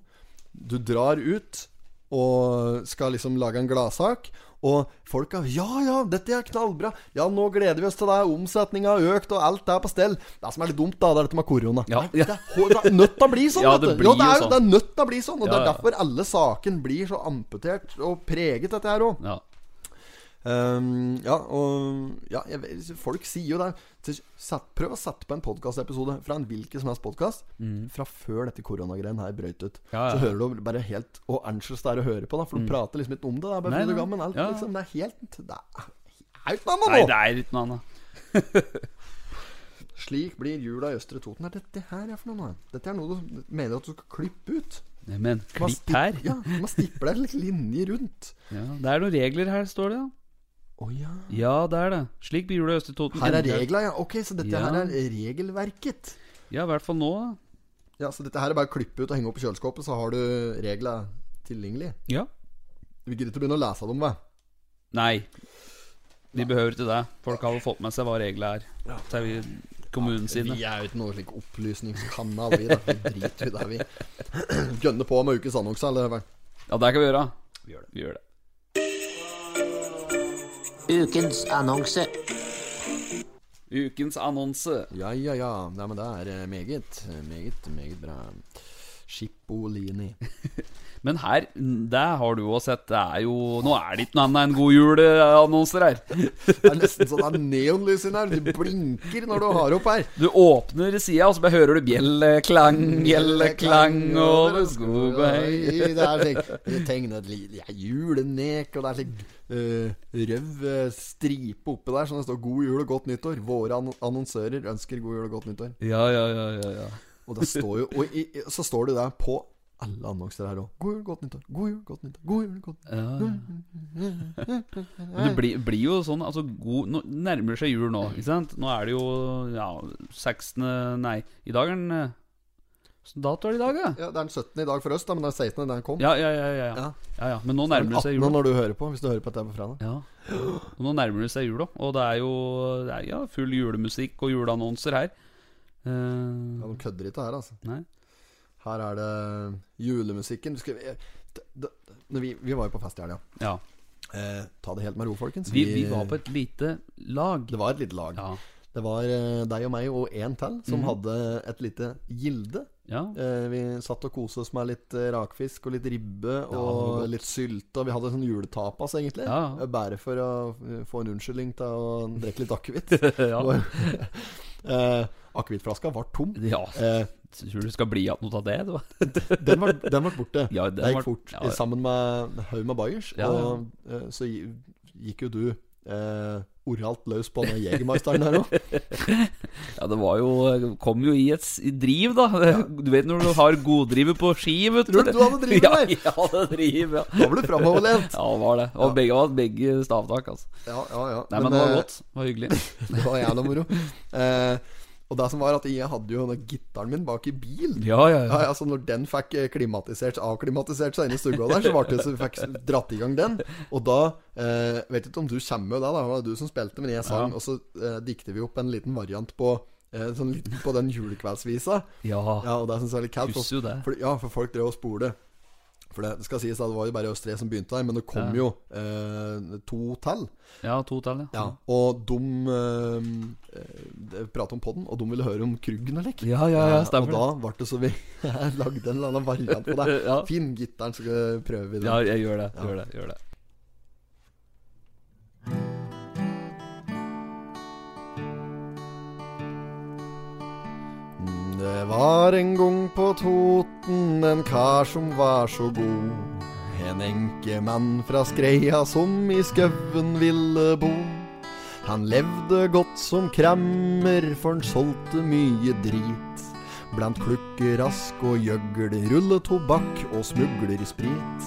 Du drar ut og skal liksom lage en gladsak. Og folka 'Ja, ja, dette er knallbra'. 'Ja, nå gleder vi oss til det. Omsetninga har økt, og alt er på stell'. Det som er litt dumt, da, det er dette med korona. Ja. Nei, det er hår- det er nødt til å bli sånn. Ja, vet det du. blir ja, det er, jo jo- sånn. Det er nødt til å bli sånn. Og Ja, det er ja. derfor alle saken blir så amputert og preget, dette her òg. ja. Ehm, ja, og ja, jeg, vet- folk sier jo det. Så Sett, prøv å sette på en podkastepisode fra en hvilken som helst podkast fra før dette koronagreien her brøt ut. Mm. Ja, ja. Så hører du bare helt Og anxious det er å høre på, da, for du prater liksom ikke om det. Det er bare Nei, full og nei. gammel. Alt, Ja, ja. liksom, det er helt Det er, er jo ikke noe Nei, annet nå! det er ikke noe annet. Slik blir jula i Østre Toten. Nei, dette her er for noe annet. Dette er noe du mener at du skal klippe ut. Nei, Men Du må klipp stip- her. Ja, du må stiple en linje rundt. Ja, det er noen regler her, står det. da Å ja. Ja, det er det. Slik blir jula i Østre Toten. Her er endret. regla, ja. Ok, så dette Ja. her er regelverket. Ja, i hvert fall nå. da. Ja, så dette her er bare å klippe ut og henge opp i kjøleskapet, så har du regla tilgjengelig. Ja. Vi gidder ikke å begynne å lese dem, hva? Nei. Vi behøver ikke det. Folk har jo fått med seg hva reglene er. Til vi- kommunen sine. Vi er jo ikke noe slik opplysningskanal, vi. Da. Vi driter jo der, vi. Gønner på med ukens annonse, eller hva? Ja, det kan vi gjøre. Vi gjør det. Vi gjør det. Ukens annonse. Ukens annonse. Ja, ja, ja. Nei, men det er eh, meget, meget, meget bra. Schippolini. Men her, det har du også sett. Det er jo Nå er det ikke noe annet enn god jul-annonser her. Det er nesten sånn det er neonlys inni her. Det blinker når du har opp her. Du åpner sida, og så bare hører du bjelleklang, bjelleklang over skog og hei. Oi, Det er slik det tegnet li- det er julenek, og det er slik eh, rød eh, stripe oppe der, som det står 'God jul og godt nyttår'. Våre ann- annonsører ønsker god jul og godt nyttår. Ja, ja, ja, ja, ja. Og det står jo Og i, i- så står det der på alle annonser her òg. God jul, godt nyttår. God jul, godt nyttår. God jul, godt Ja, ja. Men det blir, blir jo sånn altså god, Nå nærmer seg jul nå, ikke sant? Nå er det jo ja, 16. Nei, i dag er den eh, Hvilken dato er det i dag, da? Ja, Det er den 17. i dag for oss, da, men det er 16. da den kom. Ja, ja, ja. ja, ja. Ja. ja, ja. Men nå nærmer det seg 18. jul. når du hører på, hvis du hører på dette på fredag. Ja. Og nå nærmer det seg jul, da. Og det er jo det er, ja, full julemusikk og juleannonser her. Eh, Ja, De kødder ikke her, altså. Nei. Her er det julemusikken. Du Skal, jeg- d- d- når vi, vi var jo på fest i helga. ja. Eh, ta det helt med ro, folkens. Vi, vi var på et lite lag. Det var et lite lag. Ja. Mhm. Det var eh, deg og meg og én til som hadde et lite gilde. ja. Eh, vi satt og koste oss med litt eh, rakfisk og litt ribbe det var og godt. litt sylte. Og vi hadde sånn juletapas, egentlig. Ja. Eh, Bare for å eh, få en unnskyldning til å drikke litt akevitt. ja. eh, Akevittflaska var tom. ja. Eh, Tror du det skal bli igjen noe av det? det var- den var, den var borte. Ja, den det gikk var- fort. ja, ja. Sammen med en haug med bayers. Ja, ja. Og eh, så gi- gikk jo du eh, oralt løs på denne Jegermeisteren her òg. Ja, det var jo Kom jo i et s- i driv, da. Du vet når du har goddrivet på ski, vet du. Tror du du hadde drivet ja, der? Ja, det driv, ja. Da ble du framoverlent. Ja, det var det. Og begge var begge stavtak, altså. Ja, ja, ja. Nei, men, det var eh, godt. Det var hyggelig. Det var jævla moro. Eh, og det som var at jeg hadde jo denne gitaren min bak i bil. Ja, ja, Ja, ja, så når den fikk eh, klimatisert avklimatisert seg inn i stua der, så, ble det, så fikk jeg dratt i gang den. Og da eh, Vet ikke om du kommer med det, da. Det var du som spilte, men jeg sang. Ja. Og så eh, dikter vi opp en liten variant på eh, Sånn liten på den julekveldsvisa. Ja, Ja, og det syns jeg er litt kaldt. Husker jo det. For, ja, for folk drev og spole. For det, det skal sies at det var jo bare oss tre som begynte her, men det kom Ja. jo eh, to til. ja to tall, Ja, og de eh, prata om podden, og de ville høre om Kruggen og lekk. Ja, ja, ja, og stemmer da det. ble det så vi lagde en eller annen variant på det. Ja. Finn gitaren, så skal prøve vi den. Ja, jeg gjør det. Gjør det, gjør det. Det var en gang på Toten en kar som var så god. En enkemann fra Skreia som i skauen ville bo. Han levde godt som krammer, for han solgte mye drit. Blant klukkerask og gjøgl, rulletobakk og smuglersprit.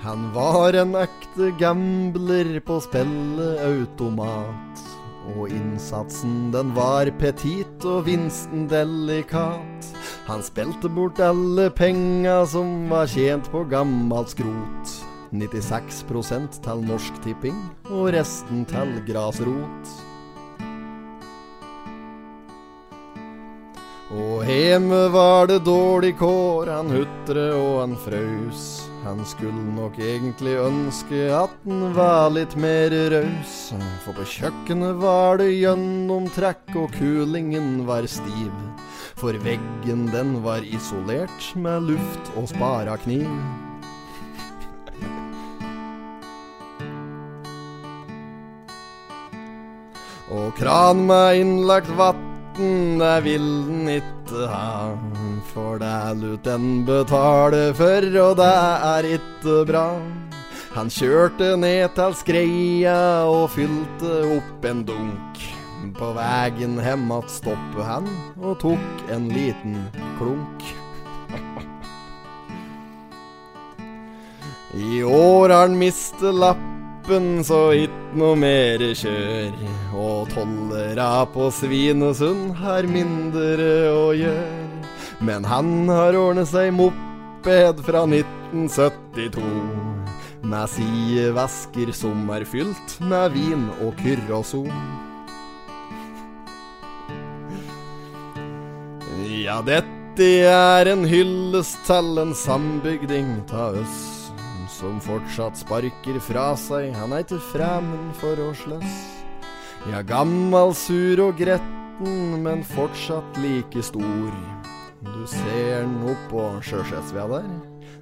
Han var en ekte gambler på spilleautomat. Og innsatsen den var petit og vinsten delikat. Han spilte bort alle penga som var tjent på gammalt skrot. 96 til Norsk Tipping og resten til grasrot. Og hjemme var det dårlig kår, han hutre og han frøs. Han skulle nok egentlig ønske at han var litt mer raus. For på kjøkkenet var det gjennomtrekk, og kulingen var stiv. For veggen den var isolert med luft og spara kniv. Og kran med innlagt vatten, det vil den ikke ha. For det lut den betaler for, og det er ikke bra. Han kjørte ned til skreia og fylte opp en dunk. På vegen hjem att stoppet han og tok en liten klunk. I år har han mistet lappen, så ikke noe mer kjør. Og tollera på Svinesund har mindre å gjøre. Men han har ordnet seg moped fra 1972. Med sidevesker som er fylt med vin og curroso. Ja, dette er en hyllest til en sambygding ta oss Som fortsatt sparker fra seg, han er ikke fremmed for å sløss Ja, gammal, sur og gretten, men fortsatt like stor Du ser den oppå Sjøsesvia der,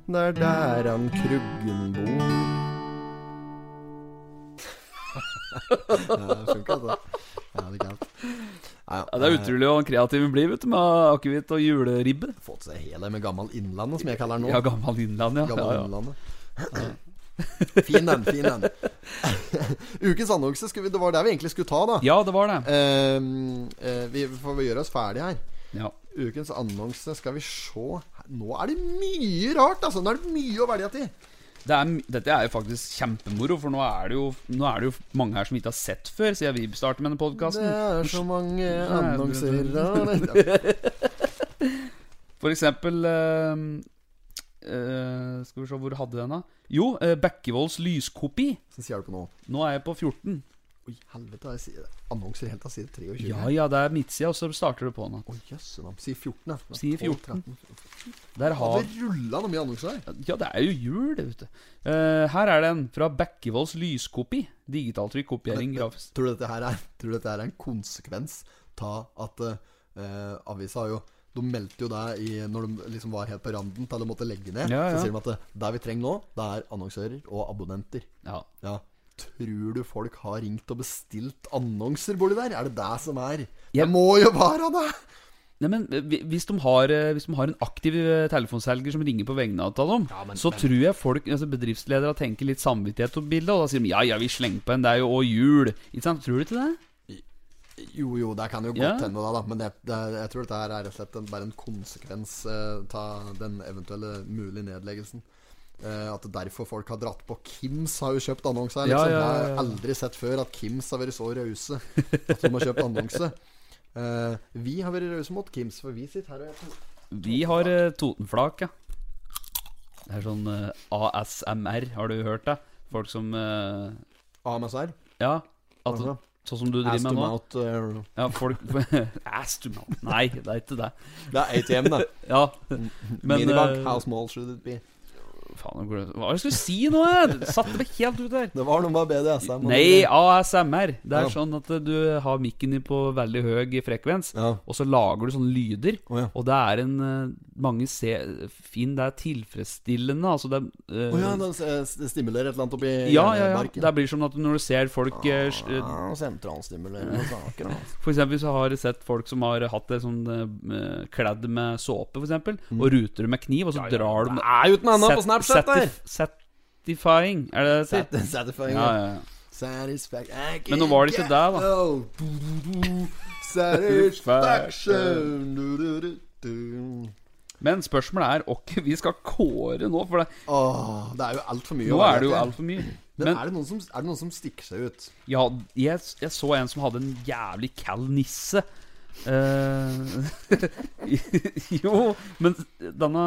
det er der han Kruggen bor Ja, det funker det Ja, det er galt Nei, Ja, det er utrolig hvor kreativ vi blir, vet du, med akevitt og juleribbe. Fått seg hele med gammel Innlandet, som jeg kaller den nå. Ja, gammel Innland, ja. gammel ja, ja. Innlandet. Ja. Fin den, fin den. Ukens annonse, skulle vi, det var der vi egentlig skulle ta, da. Ja, det var det. Ehm, eh, vi får vel gjøre oss ferdig her. Ja. Ukens annonse, skal vi se Nå er det mye rart, altså! Nå er det mye å velge til. Det er, m- dette er jo faktisk kjempemoro, for nå er, det jo, nå er det jo mange her som ikke har sett før, siden vi startet med denne Det podkasten. er så mange annonser sånn. For eksempel eh, eh, Skal vi se, hvor hadde jeg den, da? Jo, eh, Bekkevolds lyskopi. Så sier du på nå Nå er jeg på 14. Oi, helvete, jeg sier annonser helt av side 23. Ja ja, det er midtsida, og så starter du på den. da. Oi, jøsse navn. Si 14, da. Si 14. Der Har har det rulla noe mye annonser der? Ja, det er jo jul, det, vet du. Eh, her er den, fra Bekkevolds lyskopi. Digitaltrykk, kopiering, grafisk Tror du dette her er, tror du dette her er en konsekvens av at eh, avisa har jo de meldte jo det i, når de liksom var helt på randen til de måtte legge ned. Ja, ja. Så sier de at det, det vi trenger nå, det er annonsører og abonnenter. Ja. Ja, Tror du folk har ringt og bestilt annonser borti der? Er det det som er? Det Jeg- må jo være det! Nei, men eh, hvi- hvis de, har, eh, hvis de har en aktiv eh, telefonselger som ringer på vegne av dem, så tror jeg folk, altså bedriftsledere tenker litt samvittighet på bildet, og da sier de ja, ja, vi slenger på en, det er jo òg jul. Ikke sant? Tror du ikke det? Jo, jo, det kan jo godt Ja. hende, da, da. Men det, det, jeg tror dette her er rett og slett en, bare en konsekvens eh, av den eventuelle mulige nedleggelsen. Eh, at derfor folk har dratt på. Kims har jo kjøpt annonse her. Ja, Liksom. ja, ja, Jeg ja. har aldri sett før at Kims har vært så rause at de har kjøpt annonse. Eh, vi har vært rause mot Kims, for vi sitter her og jeg tror Vi har eh, Totenflak, ja. Det er sånn eh, ASMR, har du hørt det? Folk som eh, AMSR. Ja. At, Altså, sånn som du driver Ass to med nå? mouth eh, Ja, folk Ass to mouth. Nei, det er ikke det. Det er ATM, det. Ja, men Minibank, altså. eh, how small should it be? Faen, hvor- hva var det jeg skulle si nå? Jeg satte meg helt ut der. Det var noe med BDSM. og Nei, det- ASMR. Det er Ja. sånn at eh, du har mikken din på veldig høy frekvens, Ja. og så lager du sånne lyder. Å ja. Og det er en eh, Mange se, fin, det er tilfredsstillende. Altså det er eh, Å ja, den eh, stimulerer et eller annet oppi Ja, ja, ja. barken. Det blir som at når du ser folk Ah. eh, s- eh, Ja, sentralstimulerende saker, altså. For eksempel så har jeg sett folk som har hatt det sånn eh, kledd med såpe, for eksempel, Mm. og ruter det med kniv, og så drar de Er uten annet på Sat- Snapchat der! satif- Satisfying, er det det heter? Satisfying. Ja, Ja, ja, ja. Satisfaction. Men nå var det ikke det, da. Oh. Du, du, du. Satisfaction du, du, du, du. Men spørsmålet er åkke vi skal kåre nå, for det, Åh, det er jo altfor mye. å nå være er det jo etter. altfor mye. Men, Men er, det noen som, er det noen som stikker seg ut? ja, jeg, jeg så en som hadde en jævlig kald nisse. Eh, jo, men denne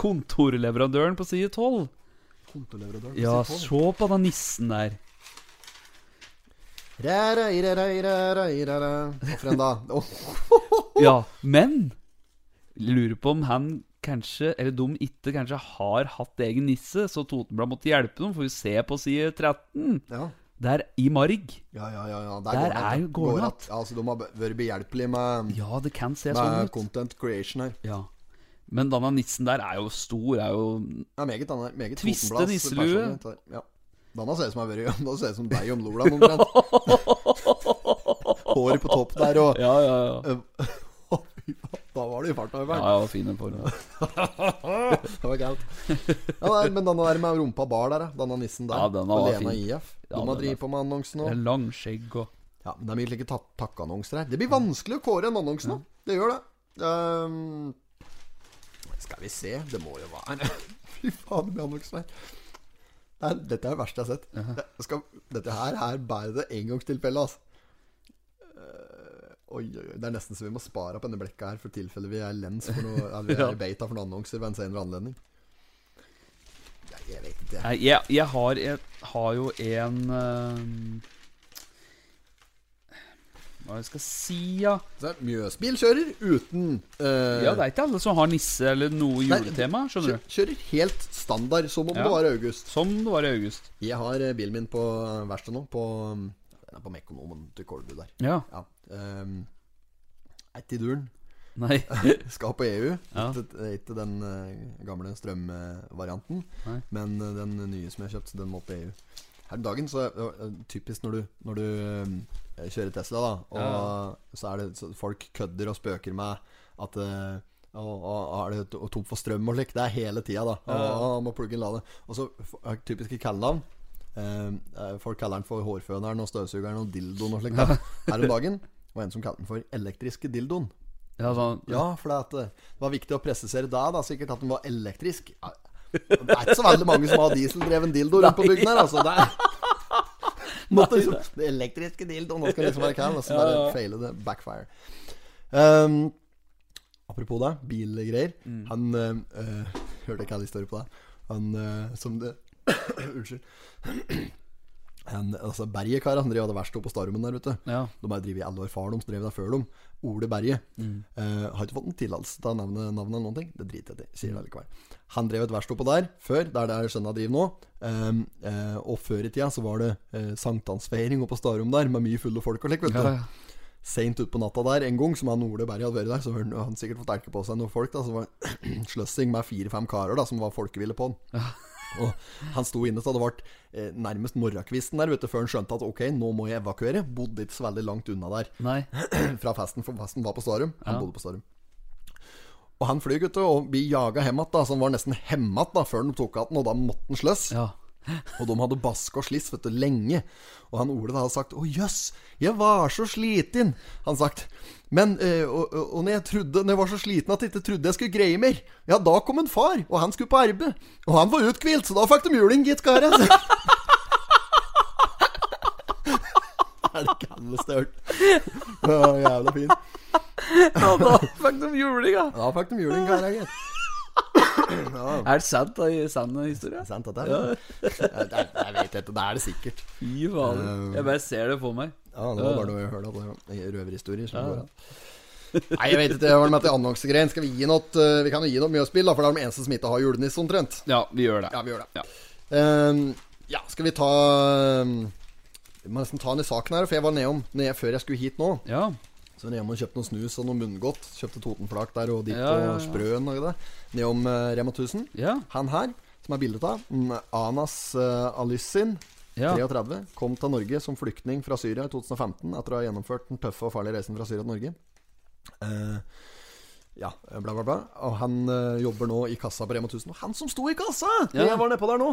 kontorleverandøren på side 12 Kontoleverandøren Ja, på side tolv. se på den nissen der. Ra, ra, ra, ra, ra, ra, ra. Hvorfor en da? Åh, Ja, men Lurer på om han kanskje Eller de ikke kanskje har hatt egen nisse Så Totenblad måtte hjelpe dem For vi ser på side 13 ja. Der i Marg Ja, ja, ja, ja. Der det er an. jo- går det an. an. Ja, altså, de har vært behjelpelige med, Ja, det kan se sånn med ut content creation her. ja. Men denne nissen der er jo stor Er jo Ja, meget han er. Meget Tviste Rosenblads nisselue. personlighet her. Ja. Danna ser ut som jeg har vært i- Da ser ut som deg om Lola omtrent. Håret på topp der og Ja, ja, ja Å, fy faen, Da var det i farta. Ja, Ja. ja, fin den formen Det var galt. Ja, nei, men denne der med rumpa bar der, ja. Denne nissen der. Ja, den var Alena fin. IF. de Ja, har den drevet på med annonsen Det nå. er lang skjegg og Ja, men det er mye like ta- takkeannonser her. Det blir vanskelig å kåre en annonse nå. Det gjør det. Ehm, skal vi se. Det må jo være Fy faen, det blir annonser her. Det er, dette er det verste jeg har sett. Jeg skal, dette her er bare det engangstilfellet, altså. Eh, Oi, oi, oi. Det er nesten så vi må spare opp denne blekka her for tilfelle vi er lens for noe Eller vi er i beta for noen annonser ved en senere anledning. Jeg, jeg vet ikke. Nei, jeg, jeg, har, jeg har jo en eh, Hva skal jeg si, ja Så er det Mjøsbilkjører uten eh, Ja, det er ikke alle som har nisse eller noe Nei, juletema, skjønner Kjø- du. Kjører helt standard, som om Ja. det var august. Som det var i august. Jeg har eh, bilen min på eh, verksted nå, på um, Den er på Mekonomen til Kolbu der. Ja. Ja. Um, Ett i duren. Nei. Skal på EU. Ja. Ikke, ikke den eh, gamle strømvarianten, Nei. men eh, den nye som jeg har kjøpt, den må på EU. Her om dagen, så eh, typisk når du, når du eh, kjører Tesla, da, og så er det så folk kødder og spøker med at eh, og, og, er det to- tomt for strøm og slik? Det er hele tida, da. Og, og må plugge inn lade. Og så f- er det typiske kallenavn. Eh, folk kaller den for hårføneren og støvsugeren og dildoen og slik. da. Her om dagen var en som kalte den for elektriske dildoen. Ja, sånn, Ja, for det, at det det var viktig å presisere da, da sikkert at den var elektrisk. Ja, Det er ikke så veldig mange som har dieseldreven dildo rundt på bygden her, altså. Det er Måtte liksom, det elektriske dildoen, nå skal liksom være kall, og så bare feile det. Backfire. Um, apropos det, bilgreier. Han eh, eh, Hørte ikke alle historier på det. Han eh, som det Unnskyld. Han, altså Berget-kar, han drev og hadde verksted oppe på Starmen der, vet du. ja. De har drevet i alle år far deres, drev der før dem. Ole Berge. Mm. Eh, har ikke fått en tillatelse til å nevne navnet eller noen ting. Det driter jeg i, sier Mm. det likevel. Han drev et verksted oppå der før, der det er søndag driver nå. Ehm, eh, og før i tida så var det eh, sankthansfeiring oppe på Starum der, med mye fulle folk og slik, vet du. Ja, ja. Seint utpå natta der en gang, som han Ole Berg hadde vært der, så hadde han sikkert fått elke på seg noen folk. da Så var det sløssing med fire-fem karer da som var folkeville på han. Og han sto inne så det ble eh, nærmest morgenkvisten der, vet du, før han skjønte at ok, nå må jeg evakuere. Bodde ikke så veldig langt unna der Nei. fra festen, for festen var på Starum. Han bodde på Starum. Og han flyr, gutter, og blir jaga hjem igjen, så han var nesten hjemme igjen før de tok igjen, og da måtte han sløss. Ja. Og de hadde baske og sliss vet du, lenge. Og han Ole da hadde sagt 'Å jøss, jeg var så sliten', han sagt. Men, eh, og, og og når jeg trodde Når jeg var så sliten at jeg ikke trodde jeg skulle greie mer, ja, da kom en far, og han skulle på arbeid. Og han var uthvilt, så da fikk de juling, gitt, altså.» karer. Er det ikke alle størt? Å, jævla fint. ja da fikk de juling, ja. Da fikk de juling, karer, gitt. Er det sant, da? Sann historie? Sant, dette er Ja, det er- Jeg vet ikke, det er det sikkert. Fy fader. Jeg bare ser det for meg. Ja, det var bare noe jeg hørte at det var røverhistorier. som går an. Nei, jeg vet ikke. Det var det med til annonsegreien. Skal vi gi noe eh, Vi kan jo gi noe Mjøsbil, da, for det er de eneste som ikke har julenisse, omtrent. Ja, vi gjør det. Ja, vi gjør det. Ja. Ehm, ja, skal vi ta ehm, Vi må nesten ta den i saken her, for jeg var nedom ned før jeg skulle hit nå. Ja. Så var jeg nedom og kjøpte noe snus og noe munngodt. Kjøpte Totenflak der og ditt Ja, ja, ja. og Sprøen og det. Nedom eh, Rema 1000. Ja. Han her, som er bildet av, mm, Anas uh, Alyssin, Ja. 33, kom til Norge som flyktning fra Syria i 2015 etter å ha gjennomført den tøffe og farlige reisen fra Syria til Norge. Eh, ja, bla, bla, bla. Og han eh, jobber nå i kassa på Rema 1000. Og han som sto i kassa! Ja. Jeg var nedpå der nå.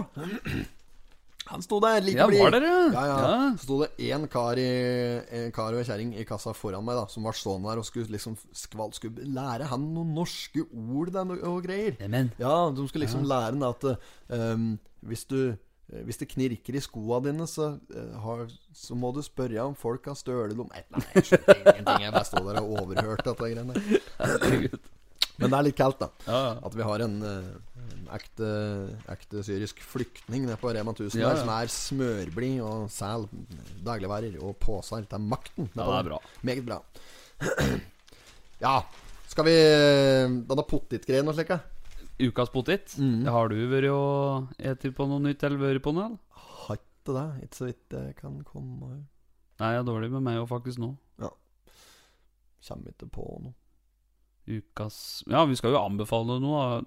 Han sto der like Ja, blid. var dere? Ja, ja. Ja. Så sto det én kar, i- en kar og ei kjerring i kassa foran meg, da som var stående der og skulle liksom skval, skulle lære han noen norske ord da, og og greier. Neimen. Ja, de skal liksom lære den at eh, um, hvis, du, eh, hvis det knirker i skoa dine, så, eh, har, så må du spørre om folk har stølelom... Nei, nei, jeg skjønner ingenting. Jeg bare står der og overhørte dette greiene. der. Herregud. Men det er litt kaldt, da. Ja, ja. At vi har en, eh, en ekte, ekte syrisk flyktning nede på Rema 1000 Ja, ja. der, som er smørblid og sel, dagligvarer og poser til makten. Ja, det er bra. Meget bra. ja. Skal vi eh, Denne pottitgreien og slik, ja? Ukas potet. Har du vært og spist på noe nytt, eller vært på noe? eller? Har ikke det, ikke så vidt jeg kan komme Nei, jeg er dårlig med meg og faktisk nå. Kommer ikke på noe. Ukas Ja, vi skal jo anbefale noe. da.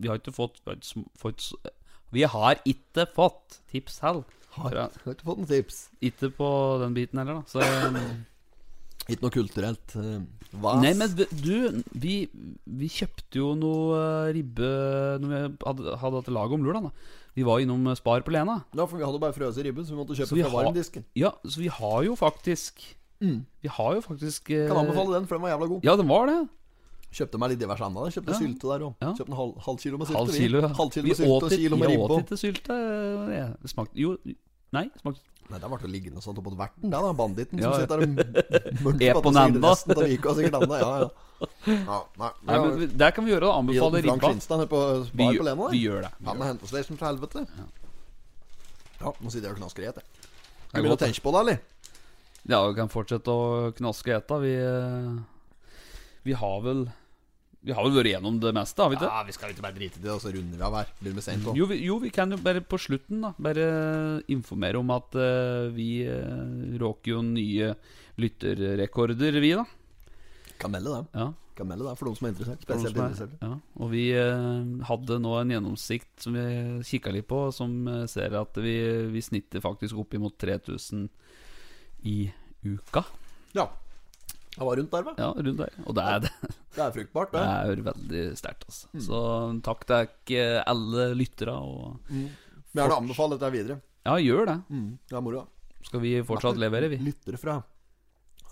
Vi har ikke fått, vi har ikke sm- fått s- Vi har ikke fått tips selv. Har, Bra. har ikke fått noen tips. Ikke på den biten heller, da. Så um, Ikke noe kulturelt eh, vas. Nei, men v- du, vi, vi kjøpte jo noe eh, ribbe Når vi hadde, hadde hatt lag om lørdag. da. Vi var innom eh, Spar på Lena. Ja, for vi hadde bare frøs i ribben, så vi måtte Så kjøpe vi fra har- varmdisken. Ja, så vi har jo faktisk Vi har jo faktisk eh, Mm. Kan anbefale den, for den var jævla god. Ja, den var det. Kjøpte meg litt diverse annet. der. Kjøpte Ja. sylte der òg. Ja. Kjøpte en halv, halv kilo med sylte. Halv vi. kilo. ja. halv kilo Vi med sylte åt og ikke- kilo med Jeg åt ribbe. ikke sylte. eh, Det smakte Jo, nei. smakte Nei, der ble det liggende sånn oppå verten, der, da. Banditten Ja, som ja. sitter der og mørker Er på på at det sier nanda. resten av uka, sikkert anda. Ja, ja. ja nei, Nei, men vi- Der kan vi gjøre det. vi Anbefale hadde Frank ribba. Skinstad nede på Vi, Spar på gjør- Lena vi der. gjør det. Han Vi gjør med det. hentesleisen fra helvete. Ja. nå sitter jeg og knasker i et, jeg. Det er Skal vi begynne å godt, det. tenke på det, eller? Ja, vi kan fortsette å knaske i etta. Vi, eh, vi har vel Vi har vel vært gjennom det meste, har vi ikke? Ja, vi skal ikke bare drite i det, og så runder vi av her. Blir det med sent òg. Jo vi, jo, vi kan jo bare på slutten da bare informere om at eh, vi eh, råker jo nye lytterrekorder, vi, da. Kan melde det. Ja Kan melde det for noen som er interessert. For noen Spesielt som er- interessert. Ja, og vi eh, hadde nå en gjennomsikt som vi kikka litt på, som eh, ser at vi, vi snitter faktisk opp imot 3000 i uka. Ja. Jeg var rundt der, hva. Ja, rundt der. Og det er, det Det er fruktbart, det. er veldig sterkt, altså. Så takk til dere eh, alle lyttere. Og Vi er det å anbefale dette videre. ja, gjør det. Mm, det er moro. da. Skal vi fortsatt levere, vi? Lyttere fra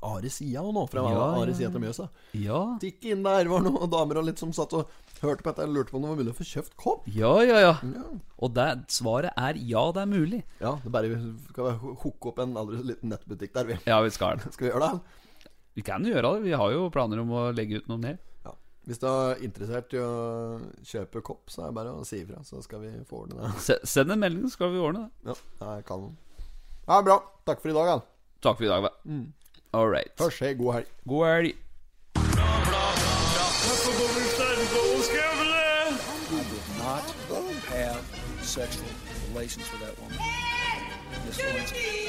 Are Sia og nå, fra Ja, ja, Are ja. Sia til Mjøsa. Ja. Tikk inn der var noen damer og litt som satt og hørte på dette og lurte på om det var mulig å få kjøpt kopp. Ja, ja, ja. Ja, Og det, svaret er ja, det er mulig. ja det bare skal vi ho- hooke opp en aldri så liten nettbutikk der, vi. Ja, vi skal det. Skal vi gjøre det? Vi kan jo gjøre det. Vi har jo planer om å legge ut noe mer. Ja. Hvis du er interessert i å kjøpe kopp, så er det bare å si ifra, så skal vi få ordne det. Se, send en melding, så skal vi ordne det. Ja, det er kanon. Ja, bra. Takk for i dag, da. Takk for i dag, da. All right. Først, hei, god helg. Mm. God helg. Not have sexual relations with that woman. Miss Lewinsky.